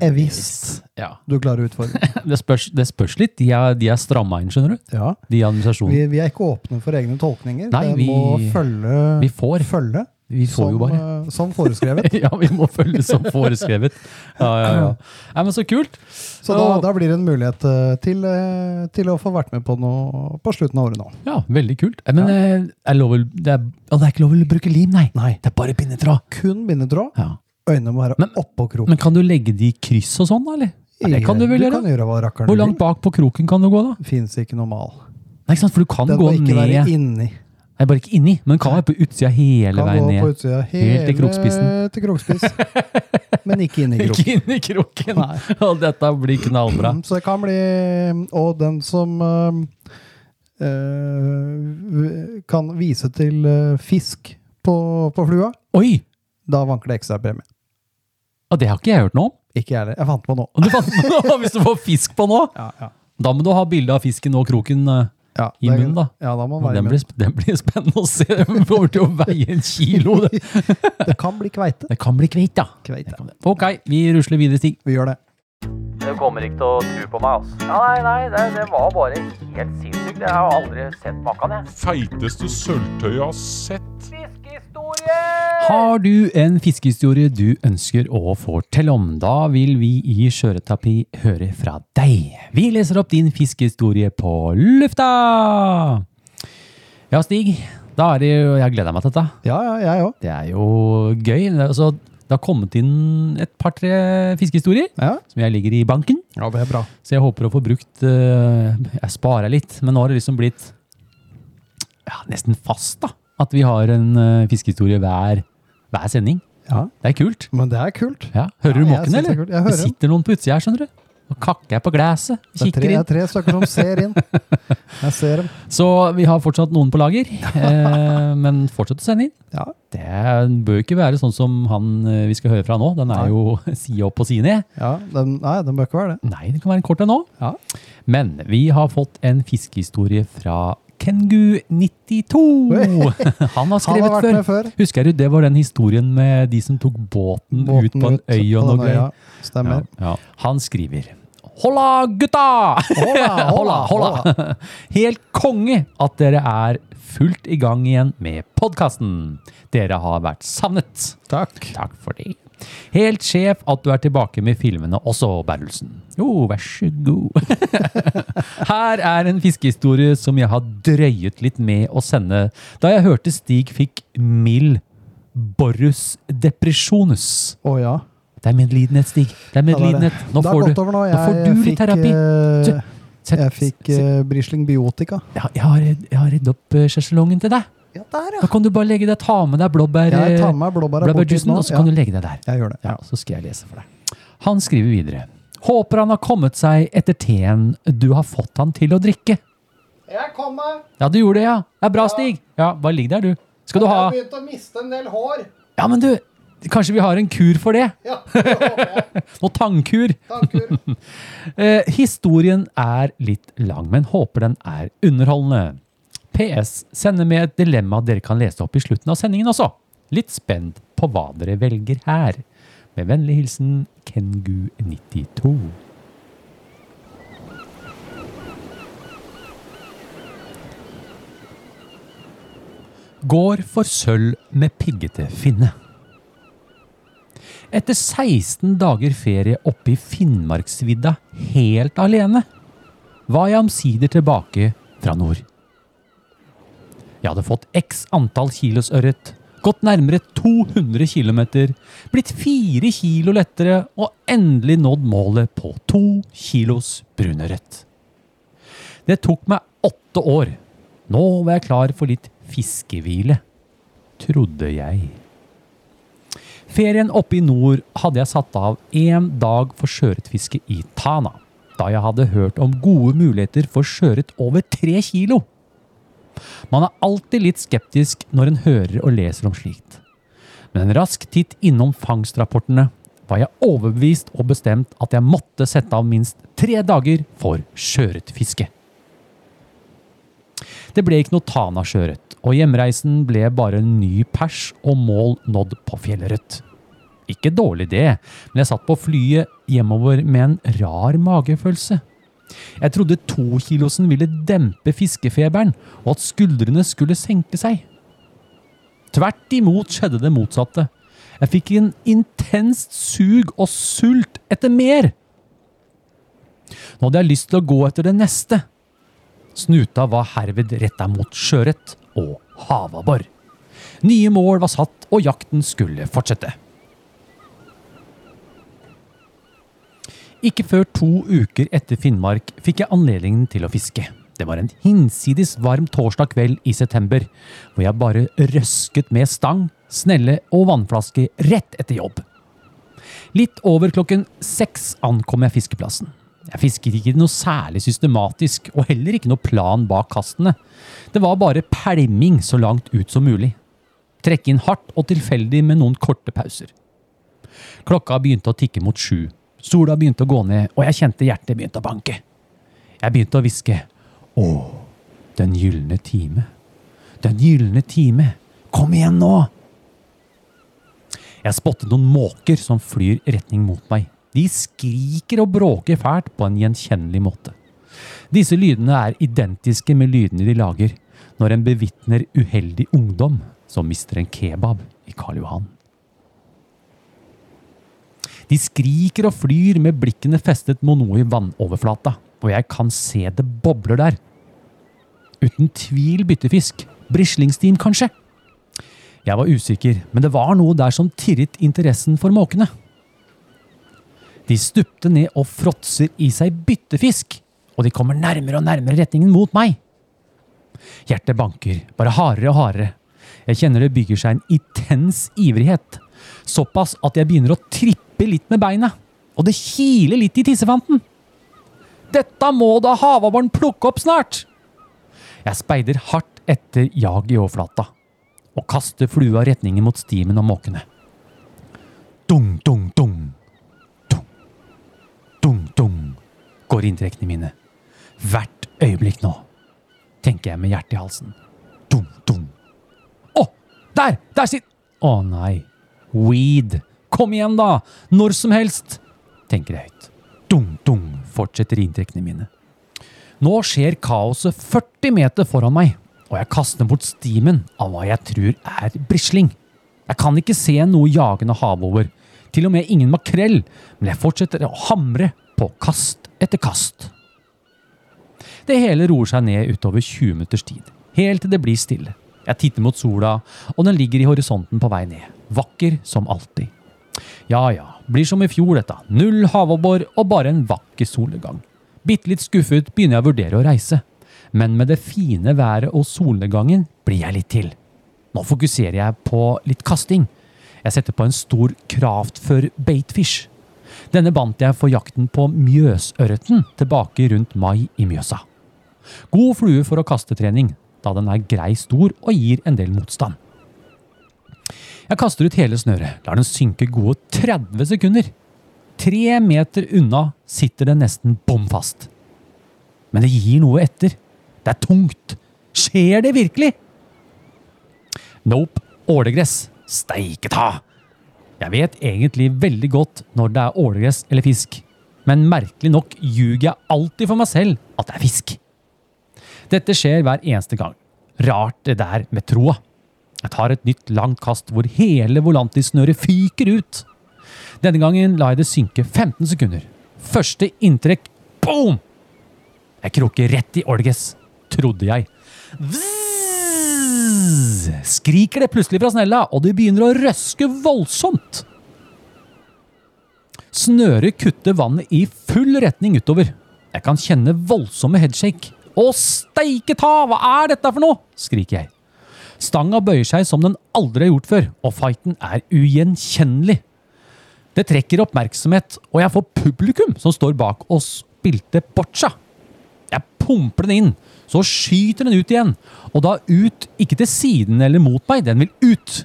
Eh, Hvis ja. du klarer utfordringen. Det, spørs, det spørs litt. De er, de er stramma inn, skjønner du. Ja. De i administrasjonen. Vi, vi er ikke åpne for egne tolkninger. Nei, det vi- må følge, Vi får. følge Vi får som, jo bare. eh, som foreskrevet. Ja, vi må følge som foreskrevet. Ja, ja, ja. Nei, men så kult. Så da, da blir det en mulighet eh, til, eh, til å få vært med på noe på slutten av året nå. Ja, veldig kult. Eh, Men eh, er lov, å- det, er, å, det er ikke lov å bruke lim, nei. Det er bare pinnetråd. Kun bindetråd. Ja. Øynene må være Men- oppå kroken. Men kan du legge de i kryss og sånn, da? eller? Ja, det kan du vel Du gjøre? kan gjøre hva rakkeren Hvor du langt vil. bak på kroken kan du gå, da? Fins ikke noe mal. Nei, ikke sant? For du kan Den gå må ikke ned være Nei, inni. Jeg er bare ikke inni, men kan være på utsida hele Kan veien gå ned. på utsida Helt til krokspissen. til krokspiss. Men ikke inn i krok. Ikke inni kroken! Nei. Og dette blir knallbra. Så det kan bli Og den som eh, eh, kan vise til eh, fisk på, på flua, Oi! da vanker det ekstra premie. Og det har ikke jeg hørt noe om. Ikke jeg heller. Jeg fant på nå. Og du fant på noe, Hvis du får fisk på nå, Ja, ja. da må du ha bilde av fisken og kroken. eh, Ja, I det- munnen, da? Ja, da må Og man være i den, blir, munnen. sp- den blir spennende å se. Den kommer til å veie en kilo. Det, Det kan bli kveite. det kan bli kvitt, ja. Kveite. Ok, vi rusler videre, Stig. Vi gjør det. Du kommer ikke til å tro på meg, altså. Ja, nei, nei, det, det var bare helt sinnssykt. Jeg har aldri sett maken, jeg. Feiteste sølvtøyet jeg har sett. Fiskehistorie! Har du en fiskehistorie du ønsker å fortelle om? Da vil vi i Skjøreterapi høre fra deg. Vi leser opp din fiskehistorie på lufta! Ja, Stig. Da er det jo, jeg gleder meg til dette. Ja, ja, jeg òg. Det er jo gøy. Det er Altså, det har kommet inn et par-tre fiskehistorier Ja. som jeg ligger i banken. ja, det er bra. Så jeg håper å få brukt eh, Jeg sparer litt, men nå har det liksom blitt ja, nesten fast, da. At vi har en eh, fiskehistorie hver, hver sending. Ja. Det er kult. Men det er kult. Ja. Hører Ja, du jeg måken, synes det er eller? kult. Jeg hører det sitter noen på utsida her, skjønner du. Og kakker jeg på glasset. Det er Kikker tre, det inn. er tre stykker som ser inn. Jeg ser dem. Så vi har fortsatt noen på lager. eh, men fortsett å sende inn. Ja. Det bør ikke være sånn som han eh, vi skal høre fra nå. Den Nei. er jo side opp og side ned. Ja, den, nei, den bør ikke være det. Nei, det kan være en kort en nå. Ja. Men vi har fått en fiskehistorie fra Kengu92. Han har Han skrevet har vært før. med før. Husker du, det var den historien med de som tok båten, Mm, ut på en ut øy og på noe den øya. greier. Ja, Stemmer. ja. Han skriver Holla, gutta! Holla, holla, holla. Helt konge at dere er fullt i gang igjen med podkasten. Dere har vært savnet. Takk. Takk for det. Helt sjef at du er tilbake med filmene også, Bertelsen. Jo, vær så god. Her er en fiskehistorie som jeg har drøyet litt med å sende da jeg hørte Stig fikk mild Borrus depresjonus. Å ja. Det er medlidenhet, Stig. Det er Ja, det er det. medlidenhet. Nå Det har får gått du, over nå. nå Jeg, får du litt fikk, terapi. eh, Sett- Sett- jeg fikk eh, Brisling Biotika. Ja, jeg har, jeg har redd opp eh, sjeselongen til deg. Ja, der, Da kan du bare legge deg, ta med deg blåbær, Jeg tar eh, med meg blåbæra bort dit blåbærjuicen, nå. og så Ja, kan du legge deg der. jeg gjør det. Ja, så skal jeg lese for deg. Han skriver videre. Håper han har kommet seg etter teen du har fått han til å drikke. Jeg kommer. Ja, du gjorde det, ja. Det er bra, Stig. Ja, bare ligg der, du. Skal du ha begynt å miste en del hår. Ja, men du, kanskje vi har en kur for det? Ja, det håper jeg. Noe tannkur? Tanker. Eh, historien er litt lang, men håper den er underholdende. PS sender med et dilemma dere kan lese opp i slutten av sendingen også. Litt spent på hva dere velger her. Med vennlig hilsen Kengu92. Går for sølv med piggete finne. Etter 16 dager ferie oppe i Finnmarksvidda, helt alene, var jeg omsider tilbake fra nord. Jeg hadde fått x antall kilos ørret, gått nærmere 200 km, blitt 4 kilo lettere og endelig nådd målet på 2 kilos brunørret. Det tok meg åtte år. Nå var jeg klar for litt fiskehvile, trodde jeg. Ferien oppe i nord hadde jeg satt av én dag for sjøørretfiske i Tana, da jeg hadde hørt om gode muligheter for sjøørret over tre kilo. Man er alltid litt skeptisk når en hører og leser om slikt. Men en rask titt innom fangstrapportene var jeg overbevist og bestemt at jeg måtte sette av minst tre dager for sjøørretfiske. Det ble ikke noe Tana sjøørret, og hjemreisen ble bare en ny pers og mål nådd på fjellørret. Ikke dårlig det, men jeg satt på flyet hjemover med en rar magefølelse. Jeg trodde tokilosen ville dempe fiskefeberen, og at skuldrene skulle senke seg. Tvert imot skjedde det motsatte. Jeg fikk en intenst sug og sult etter mer. Nå hadde jeg lyst til å gå etter det neste. Snuta var herved retta mot sjøørret og havabbor. Nye mål var satt, og jakten skulle fortsette. Ikke før to uker etter Finnmark fikk jeg anledningen til å fiske. Det var en hinsides varm torsdag kveld i september, hvor jeg bare røsket med stang, snelle og vannflaske rett etter jobb. Litt over klokken seks ankom jeg fiskeplassen. Jeg fisket ikke noe særlig systematisk, og heller ikke noe plan bak kastene. Det var bare pælming så langt ut som mulig. Trekke inn hardt og tilfeldig med noen korte pauser. Klokka begynte å tikke mot sju. Sola begynte å gå ned, og jeg kjente hjertet begynte å banke. Jeg begynte å hviske. Å, den gylne time. Den gylne time. Kom igjen nå! Jeg spottet noen måker som flyr i retning mot meg. De skriker og bråker fælt på en gjenkjennelig måte. Disse lydene er identiske med lydene de lager når en bevitner uheldig ungdom som mister en kebab i Karl Johan. De skriker og flyr med blikkene festet mot noe i vannoverflata, og jeg kan se det bobler der. Uten tvil byttefisk. Brislingsteam, kanskje? Jeg var usikker, men det var noe der som tirret interessen for måkene. De stupte ned og fråtser i seg byttefisk, og de kommer nærmere og nærmere retningen mot meg. Hjertet banker, bare hardere og hardere. Jeg kjenner det bygger seg en intens ivrighet. Såpass at jeg begynner å trippe litt med beina, og det kiler litt i tissefanten. Dette må da havabboren plukke opp snart! Jeg speider hardt etter jaget i overflata, og kaster flua retningen mot stimen og måkene. Dung, dung, dung. Dung, dung, dung, går inntrekkene mine. Hvert øyeblikk nå, tenker jeg med hjertet i halsen. Dung, dung. Å, der! Der sitter Å nei. Weed. Kom igjen, da! Når som helst! tenker jeg høyt. Dung, dung, fortsetter inntrekkene mine. Nå skjer kaoset 40 meter foran meg, og jeg kaster bort stimen av hva jeg tror er brisling. Jeg kan ikke se noe jagende havover, til og med ingen makrell, men jeg fortsetter å hamre på kast etter kast. Det hele roer seg ned utover 20 minutters tid, helt til det blir stille. Jeg titter mot sola, og den ligger i horisonten på vei ned, vakker som alltid. Ja ja, blir som i fjor dette, null havabbor og bare en vakker solnedgang. Bitte litt skuffet begynner jeg å vurdere å reise, men med det fine været og solnedgangen blir jeg litt til. Nå fokuserer jeg på litt kasting. Jeg setter på en stor kraftfør baitfish. Denne bandt jeg for jakten på mjøsørreten tilbake rundt mai i Mjøsa. God flue for å kaste trening, da den er grei stor og gir en del motstand. Jeg kaster ut hele snøret, lar den synke gode 30 sekunder. Tre meter unna sitter den nesten bom fast. Men det gir noe etter. Det er tungt. Skjer det virkelig? Nope. Ålegress. Steike ta! Jeg vet egentlig veldig godt når det er ålegress eller fisk, men merkelig nok ljuger jeg alltid for meg selv at det er fisk. Dette skjer hver eneste gang. Rart det der med troa. Jeg tar et nytt langt kast hvor hele volantisnøret fyker ut. Denne gangen lar jeg det synke 15 sekunder. Første inntrekk boom! Jeg kroker rett i Olges, trodde jeg. Vzz! Skriker det plutselig fra snella, og det begynner å røske voldsomt. Snøret kutter vannet i full retning utover. Jeg kan kjenne voldsomme headshake. Å, steike ta! Hva er dette for noe? skriker jeg. Stanga bøyer seg som den aldri har gjort før, og fighten er ugjenkjennelig. Det trekker oppmerksomhet, og jeg får publikum som står bak og spilte boccia. Jeg pumper den inn, så skyter den ut igjen, og da ut, ikke til siden eller mot meg, den vil ut.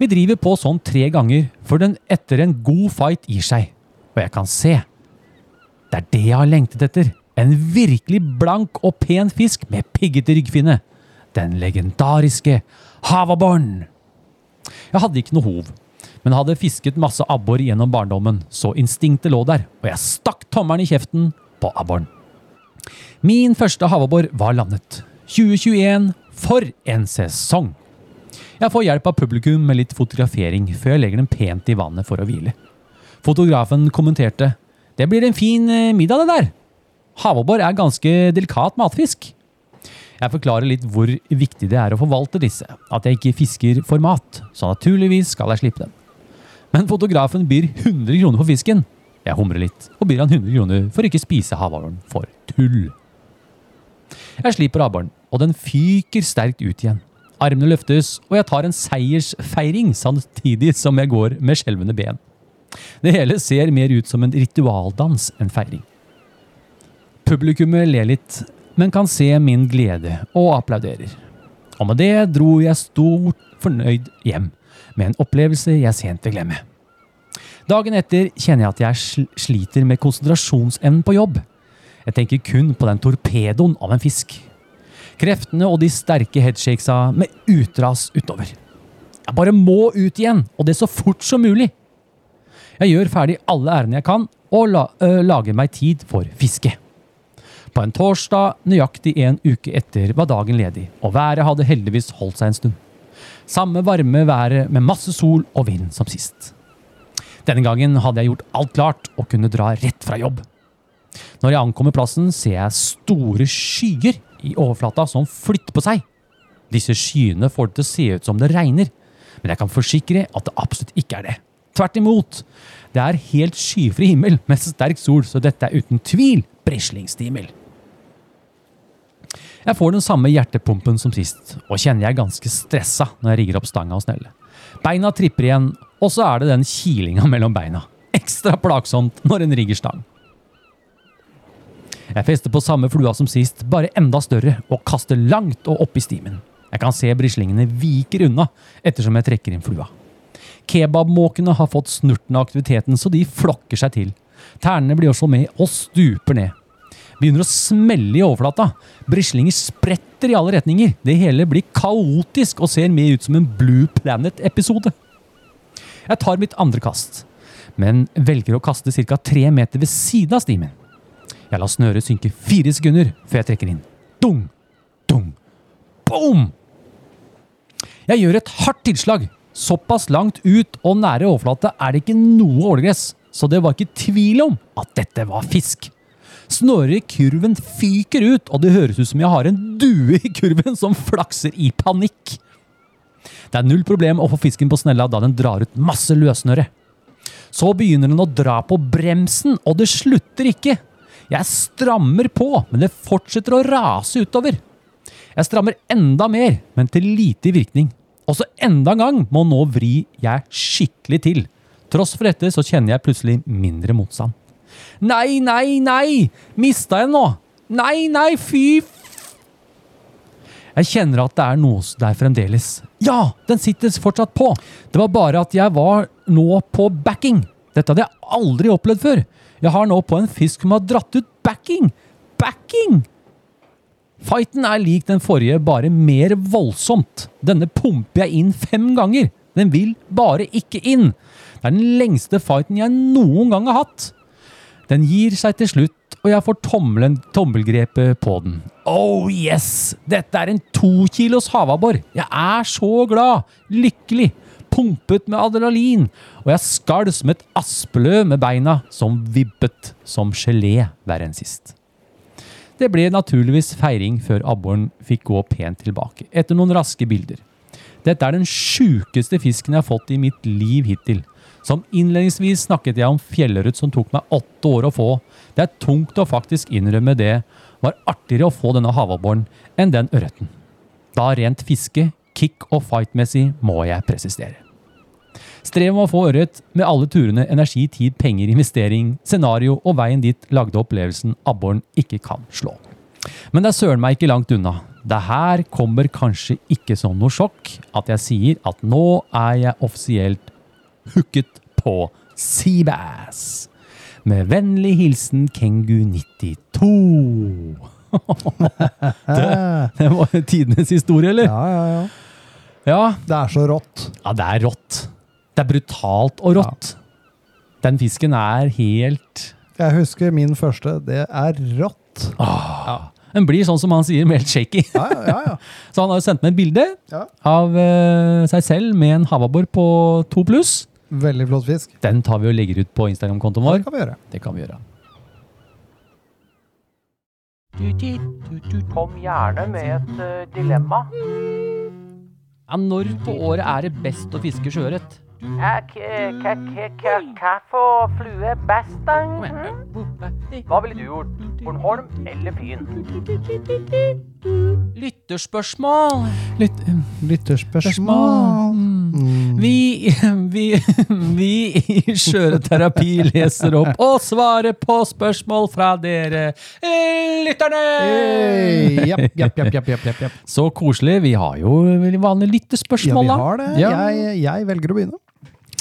Vi driver på sånn tre ganger, før den etter en god fight gir seg. Og jeg kan se. Det er det jeg har lengtet etter. En virkelig blank og pen fisk med piggete ryggfinne. Den legendariske havabboren. Jeg hadde ikke noe hov, men hadde fisket masse abbor gjennom barndommen, så instinktet lå der, og jeg stakk tommelen i kjeften på abboren. Min første havabbor var landet. 2021, for en sesong! Jeg får hjelp av publikum med litt fotografering før jeg legger den pent i vannet for å hvile. Fotografen kommenterte Det blir en fin eh, middag, det der. Havabbor er ganske delikat matfisk. Jeg forklarer litt hvor viktig det er å forvalte disse. At jeg ikke fisker for mat. Så naturligvis skal jeg slippe dem. Men fotografen byr 100 kroner for fisken. Jeg humrer litt og byr han 100 kroner for å ikke spise havabboren for tull. Jeg sliper abberen, og den fyker sterkt ut igjen. Armene løftes, og jeg tar en seiersfeiring samtidig som jeg går med skjelvende ben. Det hele ser mer ut som en ritualdans enn feiring. Publikummet ler litt, men kan se min glede og applauderer. Og med det dro jeg stort fornøyd hjem, med en opplevelse jeg sent vil glemme. Dagen etter kjenner jeg at jeg sl- sliter med konsentrasjonsevnen på jobb. Jeg tenker kun på den torpedoen av en fisk. Kreftene og de sterke headshakesa med utras utover. Jeg bare må ut igjen, og det så fort som mulig. Jeg gjør ferdig alle ærendene jeg kan, og la, øh, lager meg tid for fiske. På en torsdag, nøyaktig en uke etter, var dagen ledig, og været hadde heldigvis holdt seg en stund. Samme varme været med masse sol og vind som sist. Denne gangen hadde jeg gjort alt klart og kunne dra rett fra jobb. Når jeg ankommer plassen, ser jeg store skyer i overflata som flytter på seg. Disse skyene får det til å se ut som det regner, men jeg kan forsikre at det absolutt ikke er det. Tvert imot. Det er helt skyfri himmel med sterk sol, så dette er uten tvil brislingshimmel. Jeg får den samme hjertepumpen som sist, og kjenner jeg er ganske stressa når jeg rigger opp stanga og snellet. Beina tripper igjen, og så er det den kilinga mellom beina. Ekstra plagsomt når en rigger stang. Jeg fester på samme flua som sist, bare enda større, og kaster langt og opp i stimen. Jeg kan se brislingene viker unna ettersom jeg trekker inn flua. Kebabmåkene har fått snurten av aktiviteten, så de flokker seg til. Ternene blir også med og stuper ned. Begynner å smelle i overflata. Brislinger spretter i alle retninger. Det hele blir kaotisk og ser mer ut som en Blue Planet-episode. Jeg tar mitt andre kast, men velger å kaste ca. tre meter ved siden av stimen. Jeg lar snøret synke fire sekunder før jeg trekker inn. Dung! Dung! Boom! Jeg gjør et hardt tilslag. Såpass langt ut og nære overflate er det ikke noe ålegress, så det var ikke tvil om at dette var fisk. Snøret i kurven fyker ut, og det høres ut som jeg har en due i kurven som flakser i panikk. Det er null problem å få fisken på snella da den drar ut masse løssnøre. Så begynner den å dra på bremsen, og det slutter ikke. Jeg strammer på, men det fortsetter å rase utover. Jeg strammer enda mer, men til lite virkning. Også enda en gang må nå vri jeg skikkelig til. Tross for dette så kjenner jeg plutselig mindre motstand. Nei, nei, nei! Mista jeg nå? Nei, nei, fy f... Jeg kjenner at det er noe der fremdeles. Ja, den sitter fortsatt på! Det var bare at jeg var nå på backing. Dette hadde jeg aldri opplevd før. Jeg har nå på en fisk som har dratt ut backing! Backing! Fighten er lik den forrige, bare mer voldsomt. Denne pumper jeg inn fem ganger. Den vil bare ikke inn. Det er den lengste fighten jeg noen gang har hatt. Den gir seg til slutt, og jeg får tommelen, tommelgrepet på den. Oh yes! Dette er en to kilos havabbor. Jeg er så glad! Lykkelig! Pumpet med adrenalin. Og jeg skalv som et aspeløv med beina, som vippet som gelé verre enn sist. Det ble naturligvis feiring før abboren fikk gå pent tilbake, etter noen raske bilder. Dette er den sjukeste fisken jeg har fått i mitt liv hittil. Som innledningsvis snakket jeg om fjellørret som tok meg åtte år å få. Det er tungt å faktisk innrømme det var artigere å få denne havabboren enn den ørreten. Da rent fiske, kick og fight-messig må jeg presisere. Strevet med å få ørret, med alle turene, energi, tid, penger, investering, scenario og veien dit lagde opplevelsen abboren ikke kan slå. Men det er søren meg ikke langt unna. Det her kommer kanskje ikke som noe sjokk at jeg sier at nå er jeg offisielt hooket på Seabass. Med vennlig hilsen Kengu92. det, det var tidenes historie, eller? Eh, Ja, ja, ja. ja. Det er så rått. Ja, det er rått. Det er brutalt og rått. Den fisken er helt Jeg husker min første. Det er rått. Den blir sånn som han sier, helt shaky. Ja, ja, ja. ja. Så han har jo sendt meg et bilde Ja. av eh, seg selv med en havabbor på 2 pluss. Veldig flott fisk. Den tar vi og legger ut på Instagram-kontoen Det vår. kan vi gjøre. Det kan vi gjøre. Kom gjerne med et eh, dilemma. når på året er det best å fiske sjøørret? Er k- k- k- k- Hva for flue best, da? Hva ville du gjort? Bornholm eller Fyn? Lytterspørsmål! Litt, Lytterspørsmål. vi, vi, vi i Skjøreterapi leser opp og svarer på spørsmål fra dere eh, lytterne! Hey, japp, japp, japp, japp, japp, japp, japp. Så koselig. Vi har jo veldig vanlige Ja, lyttespørsmål, vi da. har det. Ja. Jeg, jeg velger å begynne.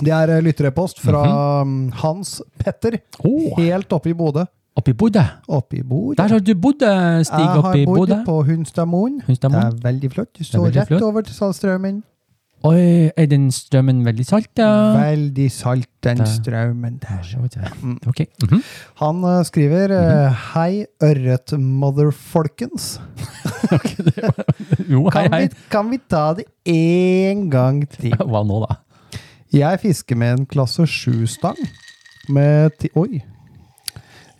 Det er eh, lytterepost fra um, Hans Petter, Åh. helt oppe i Bodø. Oppe i Bodø. Oppe i Bodø. Oh. Der har du bodd, eh, Stig, oppe i Jeg har bodd Bodø. på Hunstadmoen. Det Hunstadmoen. er veldig flott. Du veldig står rett flott. over til Saltstraumen. Oi, er den strømmen veldig salt, da? Veldig salt, den Det- straumen der. Mm. Ok. Mhm. Han eh, skriver eh, Hei, ørretmotherfolkens. Jo, hei, Kan, hei. vi- kan vi ta det én gang til? Hva nå, da? Jeg fisker med en klasse 7-stang med, ti oi.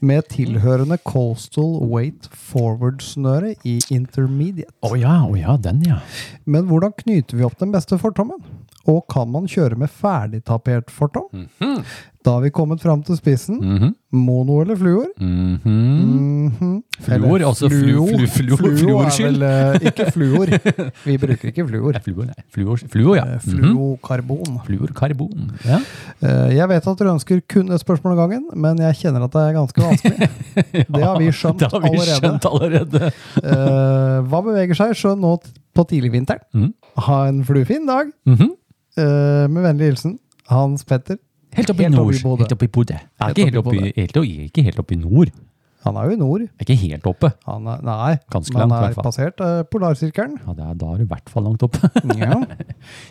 med tilhørende coastal weight forward-snøre i intermediate. Å ja, å ja, den, ja. Men hvordan knyter vi opp den beste fortommen? Og kan man kjøre med ferdigtapert fortom? Da har vi kommet fram til spissen. Mm. Mono eller fluor? Mhm. Eller Fluor, altså flu- flu- fluor- Fluor er fluorskyld. vel eh, ikke fluor. Vi bruker ikke fluor. Det er Fluor, nei. Fluor, fluor ja. Eh, Mhm. Fluokarbon. Fluorkarbon. Ja. Eh, Jeg vet at dere ønsker kun et spørsmål av gangen, men jeg kjenner at det er ganske vanskelig. Det har vi skjønt Det har vi allerede. skjønt allerede. Eh, Hva beveger seg sjø nå t- på tidligvinteren? Mhm. Ha en fluefin dag. Mhm. Eh, Med vennlig hilsen Hans Petter. Helt opp i Helt opp i nord. Bodø. Helt opp i Bodø. Ja, Ikke helt opp i opp i- helt opp- ikke helt opp i nord. Han er jo i nord. Det er Ikke helt oppe. Han er, nei, Ganske men langt, han i hvert er fall. passert eh, polarsirkelen. Ja, det er, Da er du i hvert fall langt oppe. Ja.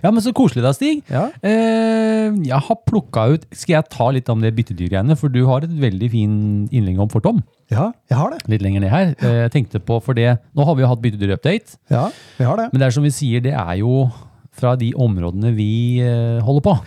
Ja, men så koselig da, Stig. Ja. Eh, jeg har plukka ut Skal jeg ta litt om det byttedyrgreiene? For du har et veldig fin innlegg om fortom. jeg har det. Litt lenger ned her. Eh, Jeg tenkte på, for det, Nå har vi jo hatt byttedyrupdate. Ja, vi har det. Men det er som vi sier, det er jo fra de områdene vi eh, holder på.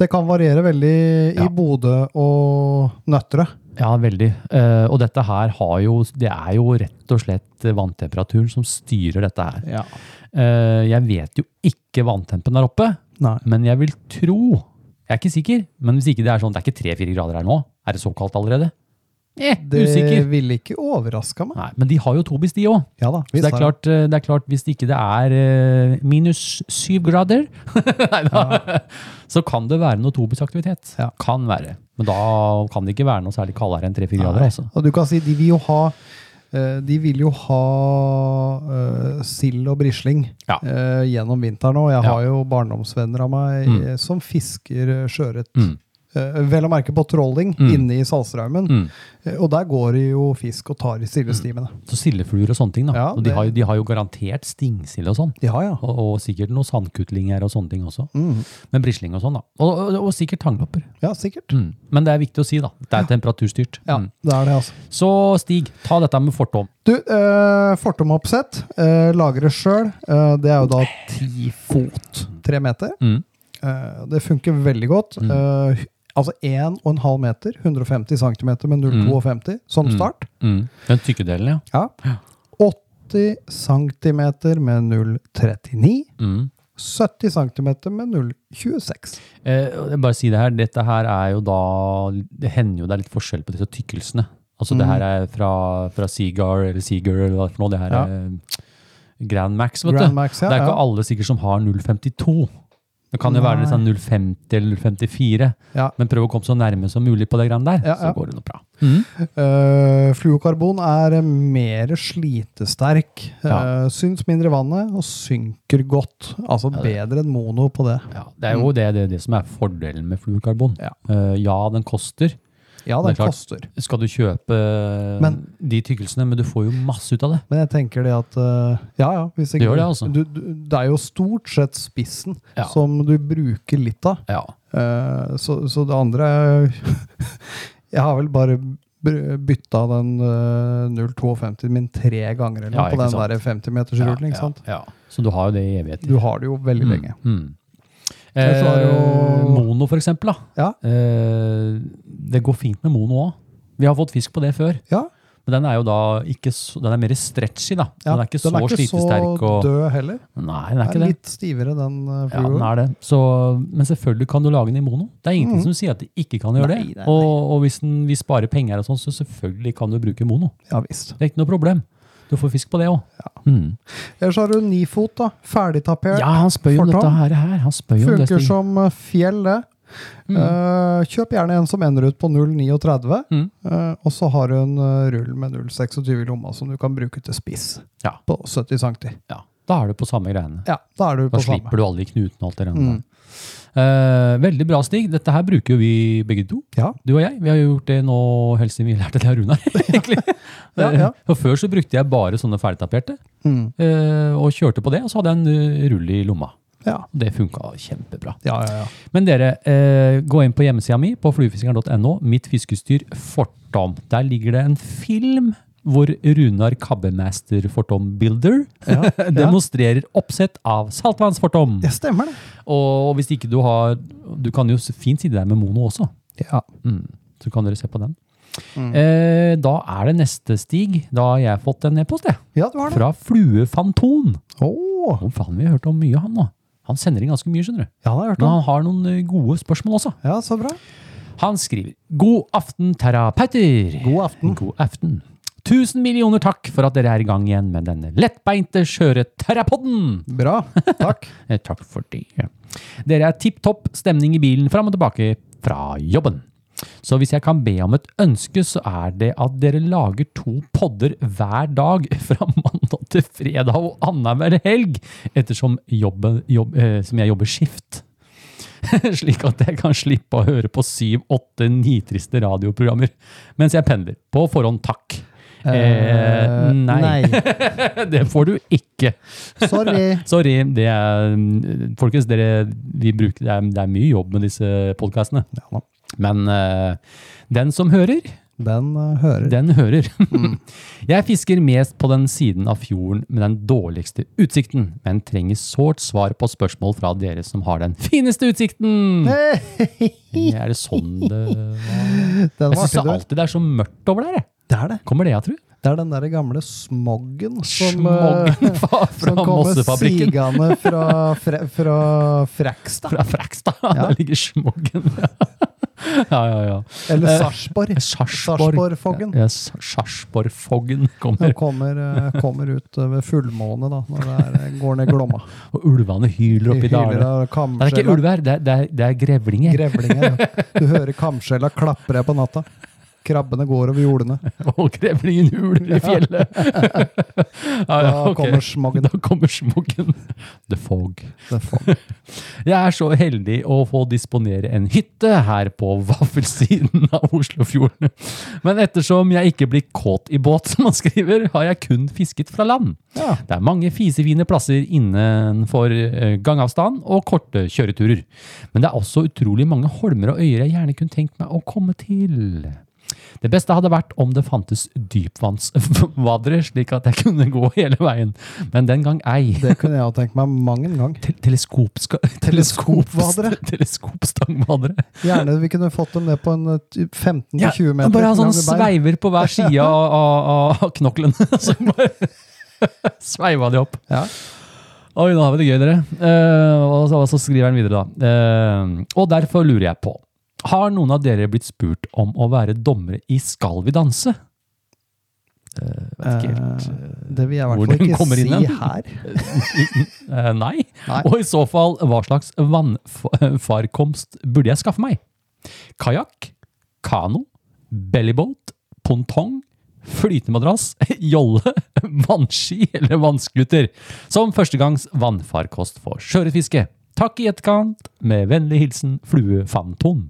Det kan variere veldig i Ja. Bodø og Nøtterøy. Ja, veldig. Eh, og dette her har jo Det er jo rett og slett vanntemperaturen som styrer dette her. Eh, jeg vet jo ikke vanntempen der oppe, Nei. men jeg vil tro Jeg er ikke sikker, men hvis ikke det er sånn Det er ikke tre-fire grader her nå. Er det så kaldt allerede? Eh, Det usikker. ville ikke overraska meg. Nei, men de har jo tobis, de òg. Ja da, Så det er, klart, eh, det er klart, hvis det ikke det er eh, minus syv grader, nei da, så kan det være noe tobisaktivitet. Ja. Kan være. Men da kan det ikke være noe særlig kaldere enn tre-fire grader. Nei. altså. Og du kan si de vil jo ha eh, de vil jo ha eh, sild og brisling Ja. eh, gjennom vinteren òg. Jeg Ja. har jo barndomsvenner av meg eh, som fisker eh, sjøørret. Mm. Eh, vel å merke på trolling inne i Salstraumen. Mm. Eh, og der går det jo fisk og tar i sildestimene. Så sildefluer og sånne ting. da. Ja, og de, det- har, jo- de har jo garantert stingsild og sånn. Ja, ja. Og, og sikkert noen sandkutlinger og sånne ting også. Mm. Men brisling og sånn, da. Og, og, og sikkert tanglopper. Ja, sikkert. Mm. Men det er viktig å si, da. Det er temperaturstyrt. Ja, Mm. det er det, altså. Så Stig, ta dette med fortom. Du, eh, fortomoppsett. Eh, lagres sjøl. Eh, det er jo da ti fot, tre meter. Mm. Eh, det funker veldig godt. Eh, altså 1,5 meter, 150 cm med 0,52 som start. Mm. Den tykke delen, ja. Ja. 80 cm med 0,39. Mm. 70 cm med 0,26. Eh, og jeg bare si det her, dette her er jo da Det hender jo det er litt forskjell på disse tykkelsene. Altså Mm. det her er fra, fra Seagar eller Seagar eller hva for noe. Det her Ja. er Grand Max, vet Grand du. Max, ja, det er ikke ja. alle sikkert som har 0,52. Det kan jo være Nei. litt sånn 0,50 eller 0,54. Ja. Men prøv å komme så nærme som mulig på det greiene der, Ja, Mm. ja. så går det noe bra. Eh, fluokarbon er eh, mer slitesterk. Ja. Eh, syns mindre i vannet og synker godt. Altså bedre enn mono på det. Ja, det er jo det, det, det som er fordelen med fluorkarbon. Ja. Eh, ja, den koster. Ja, Det er den klart. koster. Skal du kjøpe Men- de tykkelsene, men du får jo masse ut av det. Men jeg tenker det at eh, Ja, ja. Hvis Det gjør det, altså. Du, du, det er jo stort sett spissen Ja. som du bruker litt av. Ja. Eh, så, så det andre er- Jeg har vel bare br- bytta den eh, 0,52 min tre ganger eller Ja, noe på ikke den sant. der 50-metersrullen. ikke sant? Ja, ja. Så du har jo det i evigheter. Du har det jo veldig lenge. Mm. Ellers så har Eh, jo- mono, for eksempel. Da. Ja. Eh, det går fint med mono òg. Vi har fått fisk på det før. Ja, Men den er jo da ikke så, den er mer stretchy, da. Ja, den er ikke så slitesterk. Og, død heller. nei, den er Den ikke er det. litt stivere, den eh, Ja, den fluoen. er det. Så, men selvfølgelig kan du lage den i mono. Det er Mhm. ingenting som sier at de ikke kan gjøre Nei, det. nei, nei. Og, og hvis den, vi sparer penger og sånn, så selvfølgelig kan du bruke mono. Ja, visst. Det er ikke noe problem. Du får fisk på det òg. Mm. Ellers har du nifot, da. Ferdigtapert. Ja, han spør jo om Fortom. dette her. her. Han spør jo om det. Funker Stig. som eh, fjell, det. Eh, kjøp gjerne en som ender ut på 0,39, Mm. eh, og så har du en eh, rull med 0,26 i lomma som du kan bruke til spiss Ja. på 70 cm. Ja, da er du på samme greiene. Ja, da er du Da på samme. Mm. slipper du alle de knutene og alt det der. Eh, veldig bra, Stig. Dette her bruker jo vi begge to. Ja. Du og jeg. Vi har jo gjort det nå helt siden vi lærte det av Runar. egentlig. Eh, Ja, ja. For Før så brukte jeg bare sånne ferdigtaperte, Mm. eh, og kjørte på det. Og så hadde jeg en eh, rull i lomma. Ja. Og Det funka kjempebra. Ja, ja, ja. Men dere, eh, gå inn på hjemmesida mi på fluefiskeren.no. Mitt fiskestyr Fortom. Der ligger det en film hvor Runar Kabbemaster Fortom Builder demonstrerer oppsett av saltvannsfortom. Det stemmer, det. Og hvis ikke du har Du kan jo fint sitte der med mono også. Ja. Så kan dere se på den. Eh, da er det neste stig. Da har jeg fått en e-post, jeg. ja, du har det. Fra Fluefanton. Åh, Å, faen, vi har hørt om mye, han nå. Han sender inn ganske mye, skjønner du. ja, det har jeg hørt Men om. han har noen eh, gode spørsmål også. Ja, så bra. Han skriver God aften, terapeuter. God aften. God aften. Tusen millioner takk for at dere er i gang igjen med denne lettbeinte skjøreterapodden. Bra. Takk. Eh, Takk for det. Dere er tipp topp stemning i bilen fram og tilbake fra jobben. Så hvis jeg kan be om et ønske, så er det at dere lager to podder hver dag fra mandag til fredag og annenhver helg, ettersom jobben, jobb, eh, som jeg jobber skift. Slik at jeg kan slippe å høre på syv, åtte nitriste radioprogrammer mens jeg pendler. På forhånd, takk. Eh, nei, det får du ikke. Sorry. Sorry, det er, folkens, dere, vi bruker, det, er, det er mye jobb med disse podcastene. Ja, da. Men eh, den som hører, Den eh, hører. den hører. Mm. Jeg fisker mest på den siden av fjorden med den dårligste utsikten, men trenger sårt svar på spørsmål fra dere som har den fineste utsikten. Er det sånn det var? Den Jeg var synes artig, du. alltid det er så mørkt over der. jeg. Det er det. Kommer det, jeg tror? Det er den der gamle smoggen som, eh, Smoggen fra, som fra kommer Mossefabrikken. sigende fra, fra, fra Frekstad. Fra Frekstad. Der ligger smoggen. ja, ja, ja. Eller Eh, Sarpsborg. Sarpsborgfoggen. Ja, S- Sarpsborgfoggen kommer. Den kommer, eh, kommer ut eh, ved fullmåne, da, når det er, eh, går ned Glomma. Og ulvene hyler oppi dalene. Det av er ikke kamskjella. ulv her, det er, det er, det er grevlinger. Grevlinger. ja. Du hører kamskjella klapre på natta. Krabbene går over jordene. og grevlingen huler i fjellet. ja, ja, Da ok. kommer smoggen. Da kommer smoggen. The fog. Det får- Jeg er så heldig å få disponere en hytte her på vaffelsiden av Oslofjorden. Men ettersom jeg ikke blir kåt i båt, som han skriver, har jeg kun fisket fra land. Ja. Det er mange fisefine plasser innenfor eh, gangavstand og korte kjøreturer. Men det er også utrolig mange holmer og øyer jeg gjerne kunne tenkt meg å komme til. Det beste hadde vært om det fantes dypvannsvadere, slik at jeg kunne gå hele veien. Men den gang ei. Det kunne jeg ha tenkt meg mang en gang. Te teleskopska- Teleskopvadere. Teleskopstangvadere. Gjerne vi kunne fått dem ned på en eh, typ 15-20 meter. bare ha sånn lange sånne bein. sveiver på hver side av, av, av knoklen. Så bare sveiva de opp. Ja. Oi, nå har vi det gøy, dere. Eh, og så, og så skriver han videre, da. Eh, og derfor lurer jeg på. Har noen av dere blitt spurt om å være dommere i Skal vi danse? Eh, vet ikke helt. Eh, Det vil jeg i Hvor hvert fall den kommer ikke inn si hen. her. Eh, nei. Nei. Og i så fall, hva slags vannfarkomst burde jeg skaffe meg? Kajakk, kano, bellyboat, pontong, flytemadrass, jolle, vannski eller vannskuter. Som førstegangs vannfarkost for sjøørretfiske. Takk i etterkant. Med vennlig hilsen Flue Fanton.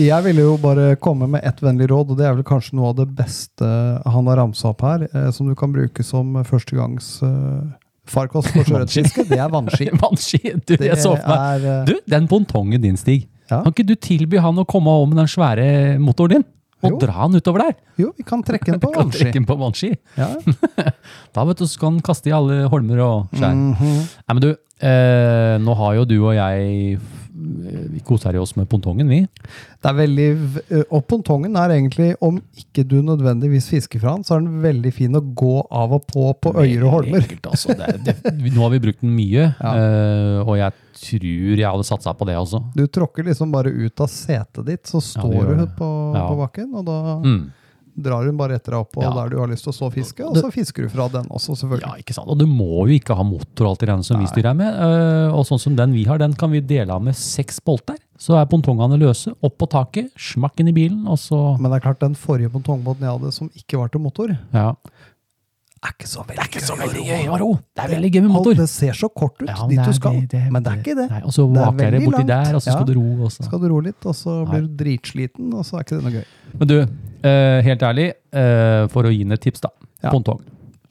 Jeg ville jo bare komme med ett vennlig råd, og det er vel kanskje noe av det beste han har ramsa opp her, eh, som du kan bruke som førstegangs eh, farkost for sjøørretfiske. Det er vannski. Vannski! Du, Det jeg så for meg er, eh, Du, den pontongen din, Stig. Ja. Kan ikke du tilby han å komme over med den svære motoren din? Og Jo. dra han utover der? Jo, vi kan trekke den på Kan trekke vannski. den på vannski. Ja. Da vet du, så kan den Mhm. kaste i alle holmer og skjær. Nei, men du, eh, nå har jo du og jeg f- vi koser oss med pontongen, vi. Det er veldig, v- eh, og pontongen er egentlig, om ikke du nødvendigvis fisker fra den, så er den veldig fin å gå av og på på øyer og holmer. Enkelt, altså. Det, er- det, vi- nå har vi brukt den mye, eh, og jeg tror jeg hadde satsa på det også. Du tråkker liksom bare ut av setet ditt, så Ja, det står gjør du det. på, Ja. på bakken, og da Mm. drar hun bare etter deg opp og Ja. der du har lyst til å så fiske, og så fisker du fra den også, Ja, selvfølgelig. ikke sant? Og du må jo ikke ha motor og alt det der som vi styrer med. eh, Og sånn som den vi har, den kan vi dele av med seks bolter. Så er pontongene løse, opp på taket, smakk inn i bilen, og så Men det er klart, den forrige pontongbåten jeg hadde, som ikke var til motor, ja. er ikke så veldig, gøy å ro. Det er veldig gøy med Alt motor. det ser så kort ut, Ja, men dit det du er- skal, det- det- men det er ikke det. Nei, og så Det er vaker det veldig borti langt. der, og så Ja. skal du ro. Og så. Skal du ro litt, og så blir du dritsliten, og så er ikke det noe gøy. Men du, eh, helt ærlig, eh, for å gi henne et tips, da. Ja. Pontong.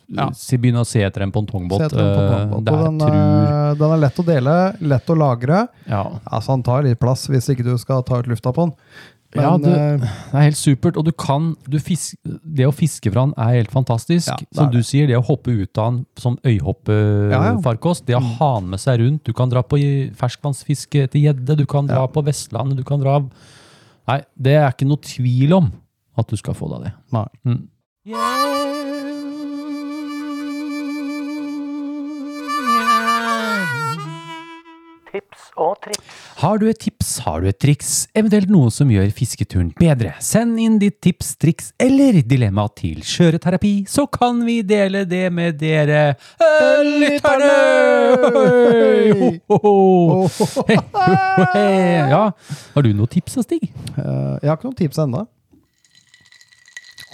Ja. Se- Begynn å se etter en pontongbåt. Se etter en eh, pontongbåt, det og her den, tror er- den er lett å dele, lett å lagre. ja. Altså, han tar litt plass hvis ikke du skal ta ut lufta på den. Men, Ja, du- eh, Det er helt supert. Og du kan du fisk, Det å fiske fra den er helt fantastisk. Ja, det er som du sier, det å hoppe ut av den som Ja, ja. øyhoppefarkost, det å ha den med seg rundt Du kan dra på i- ferskvannsfiske etter gjedde, du kan dra på Vestlandet, du kan dra Nei, det er ikke noe tvil om at du skal få deg det. nei. Mm. Tips og triks. Har du et tips, har du et triks, eventuelt noe som gjør fisketuren bedre, send inn ditt tips, triks eller dilemma til Skjøreterapi, så kan vi dele det med dere eh, lytterne! Hei, ho, ho, ho. Hei, ho, hei. Ja, har du noe tips, da, Stig? Eh, jeg har ikke noen tips ennå.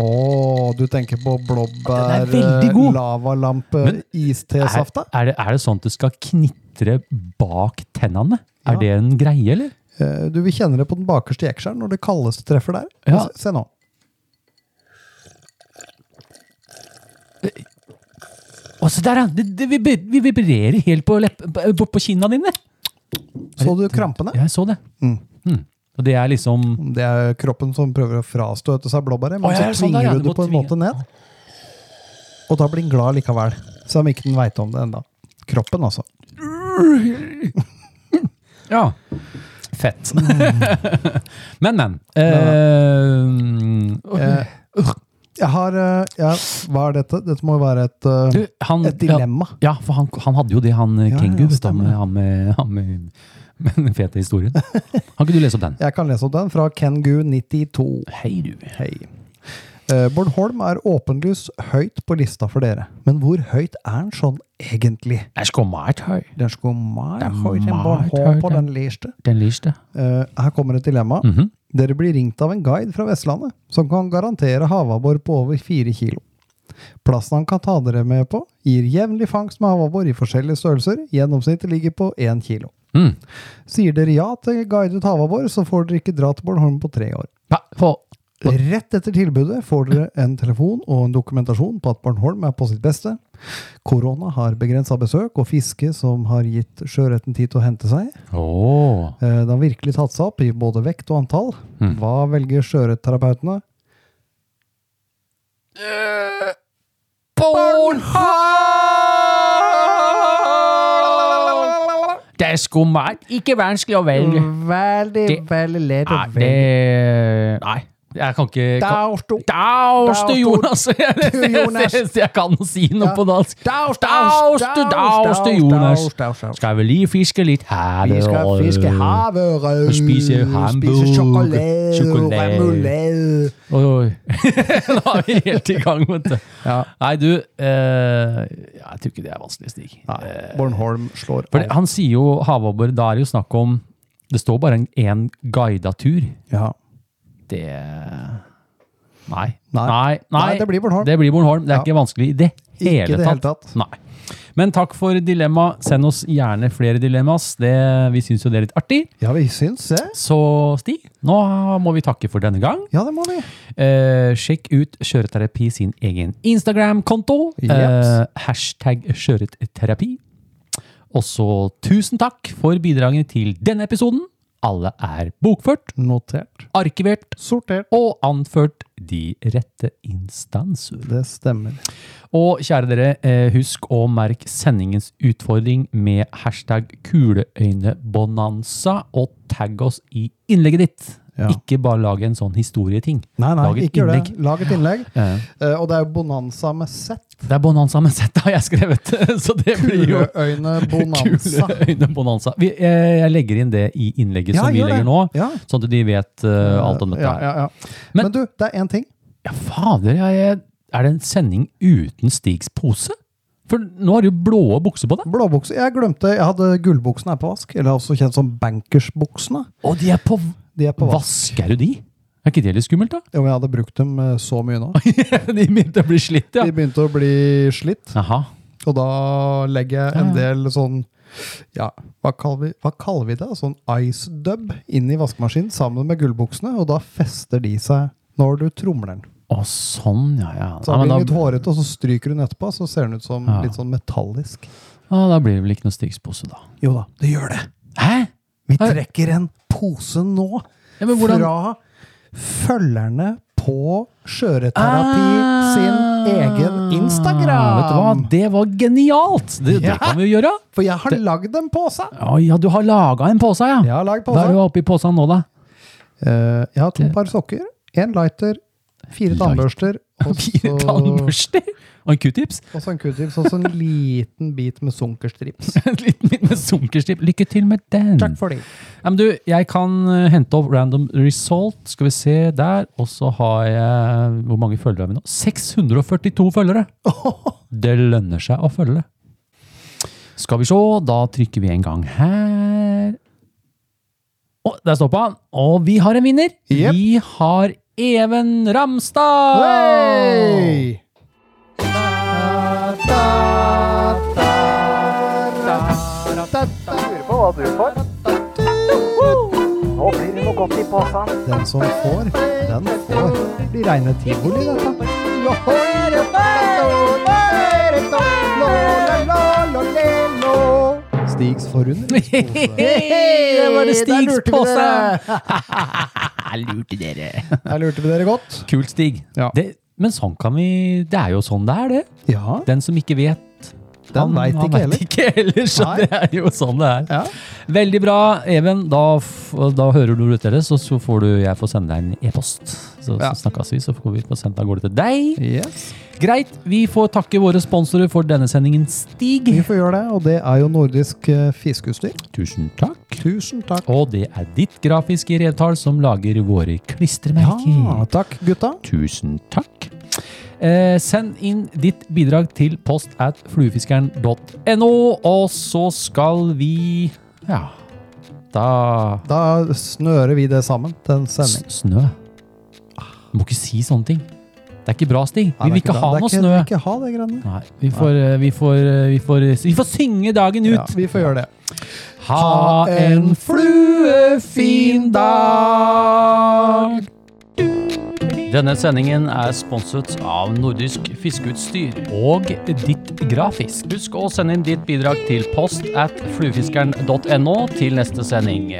Å, du tenker på blåbær, Den er veldig god. eh, lavalampe, Men Er, istesafta? er, det, er det sånn at det skal knitre bak tennene? Er det en greie, eller? Eh, Du vil kjenne det på den bakerste jekskjæren når det kaldeste treffer der. Ja. Se, se nå. Å, se der, ja! Det, det vibrer- vi vibrerer helt på, lepp, på, på kinna dine! Så du krampene? Jeg så det. Mm. Mm. Og det er liksom Det er kroppen som prøver å frastøte seg blåbæret, men Å, ja, så ja, sånn der, tvinger ja, du du det må på en tvinge. måte ned. Og da blir den glad likevel. Selv om ikke den veit om det ennå. Kroppen, altså. Ja. Fett. men, men. Eh, Eh, Jeg har eh, jeg, Hva er dette? Dette må jo være et, eh, du, han, et dilemma. Ja, ja, for han, han hadde jo det, han ja, ja, Kengu. vet du, stemmer. med- han med, han med, med den fete historien. Kan ikke du lese opp den? Jeg kan lese opp den fra Kengu92. Hei, du. Hei. Eh, Bård Holm er åpenlys høyt på lista for dere. Men hvor høyt er han sånn egentlig? Jeg skal mate høy. Den skulle meget er høyt enn Bård meget Holm høyt, på ja. den liste. Den liste. Eh, her kommer et dilemma. Mhm. Dere blir ringt av en guide fra Vestlandet som kan garantere havabbor på over fire kilo. Plassen han kan ta dere med på, gir jevnlig fangst med havabbor i forskjellige størrelser. Gjennomsnittet ligger på én kilo. Mm. Sier dere ja til guidet havabbor, så får dere ikke dra til Bornholm på tre år. Pa, på. Rett etter tilbudet får dere en telefon og en dokumentasjon på at Bornholm er på sitt beste. Korona har begrensa besøk og fiske som har gitt sjøørreten tid til å hente seg. Åh. Eh, Det har virkelig tatt seg opp i både vekt og antall. Mm. Hva velger sjøørretterapeutene? Det er skummelt. Ikke vanskelig å velge. Veldig, Mm, Det- veldig lett Nei, det Nei. Jeg kan ikke kan, Daustu, Jonas! Jeg, Jonas. jeg, jeg kan si noe Ja. på dansk. Daustu, daustu, Jonas. Skal vi lige fiske litt her Vi skal og- fiske havørøy, Og spise hamburg, spise sjokolade, sjokolade. remoulade. Oi, oi. Nå er vi helt i gang, vet du. Ja. Nei, du eh, Jeg tror ikke det er vanskelig, Stig. Eh, Bornholm slår For han sier jo havabbor. Da er det jo snakk om Det står bare en- en guida tur. Ja. Det Nei. Nei. Nei, Nei, det blir Bornholm. Det blir Bornholm. Det er Ja. ikke vanskelig i det hele Ikke i det hele tatt. tatt. Nei. Men takk for dilemma. Send oss gjerne flere dilemmas. Det, vi syns jo det er litt artig. ja, vi syns det. Så Stig, nå må vi takke for denne gang. Ja, det må vi. Eh, sjekk ut Skjøreterapi sin egen Instagram-konto. Eh, Jeps. hashtag skjøretterapi. Og så tusen takk for bidragene til denne episoden Alle er bokført, Notert. arkivert Sortert. og anført de rette instanser. Det stemmer. Og kjære dere, eh, husk å merke sendingens utfordring med hashtag kuleøynebonanza og tagg oss i innlegget ditt. Ja. Ikke bare lag en sånn historieting. Nei, nei, Lag et ikke gjør det. innlegg. Lag et innlegg. Eh, Eh, og det er jo bonanza med Z. Det er bonanza med Z, har jeg skrevet. Så det blir jo Kuleøyne bonanza. kuleøynebonanza. Vi, eh, jeg legger inn det i innlegget som vi gjør legger det. nå. Ja. Sånn at de vet eh, alt om dette. Ja, her. ja, ja. Men- Men, du, det er én ting. Ja, fader, jeg, er det en sending uten Stigs pose? For nå har du jo blå bukser på deg. Blåbukse. Jeg glemte Jeg hadde gullbuksene her på vask. Eller også kjent som bankersbuksene. Og de er på, De er på vask. Vasker du de? Er ikke det litt skummelt, da? Jo, men jeg hadde brukt dem eh, så mye nå. de begynte å bli slitt, ja. De begynte å bli slitt, Aha. og da legger jeg en Ja, del sånn ja, hva kaller, vi, hva kaller vi det? Sånn ice dub inn i vaskemaskinen sammen med gullbuksene, og da fester de seg når du tromler den. Å, sånn, ja, ja. Så ja, blir men den litt da, hårete, og så stryker du den etterpå, så ser den ut som Ja. litt sånn metallisk. ja, da blir det vel ikke noe Stigs pose, da. Jo da, det gjør det. Hæ? Vi Hæ? trekker en pose nå Ja, men hvordan fra følgerne på Skjøreterapi sin egen Ah, Vet du hva? Instagram. Det var genialt! Det, det Ja. kan vi jo gjøre. For jeg har lagd en pose! Å ja, du har laga en pose, ja. Jeg har lagd Hva pose. er det du har oppi posen nå, da? Eh, jeg har to par sokker, én lighter, fire Lighter. tannbørster og Fire så- tannbørster og en q-tips. og så en q-tips og så en liten bit med sunkerstrips. En liten bit med sunkerstipp. Lykke til med den. Takk for det. Ja, men du, jeg kan eh, hente opp random result. Skal vi se der. Og så har jeg Hvor mange følgere har vi nå? 642 følgere! Det lønner seg å følge. Skal vi se. Da trykker vi en gang her. Å, der stoppa han. Og vi har en vinner. Jep. Vi har Even Ramstad! Hey! Lurer på hva du får. Nå blir det noe godt i posen. Den som får, den får. Det blir reine tivoli, dette. Stigs forundringspose. Det var det Der Stigs lurte vi pose! dere. Lurte dere. Der lurte vi dere godt. Kult, Stig. Ja. Det, men sånn kan vi Det er jo sånn det er, det. Ja, Den som ikke vet, den veit han ikke vet heller. ikke heller. Så Nei. det er jo sånn det er. Ja. Veldig bra, Even. Da, f- da hører du ut deres, og så får du jeg får sende deg en e-post. Så, Ja. så snakkes vi, så får vi få sendt av gårde til deg. Yes. Greit. Vi får takke våre sponsorer for denne sendingen, Stig. Vi får gjøre det, og det er jo nordisk eh, fiskeutstyr. Tusen takk. Tusen takk. Og det er ditt grafiske revtall som lager våre klistremerker. Ja, Ah, takk, gutta. Tusen takk. Eh, send inn ditt bidrag til post at fluefiskeren.no, og så skal vi Ja, da Da snører vi det sammen til en s sending. Snø. Du må ikke si sånne ting. Det er ikke bra, Stig. Nei, Vi vil det er ikke ha det. Det noe er ikke- snø. Vi vil ikke ha det greiene. Nei, vi får, eh, vi, får, eh, vi, får, eh, vi får synge dagen Ja, ut. vi får gjøre det. Ha en fluefin dag! Denne sendingen er sponset av Nordisk Fiskeutstyr og Ditt Grafisk. Husk å sende inn ditt bidrag til post at fluefiskeren.no til neste sending.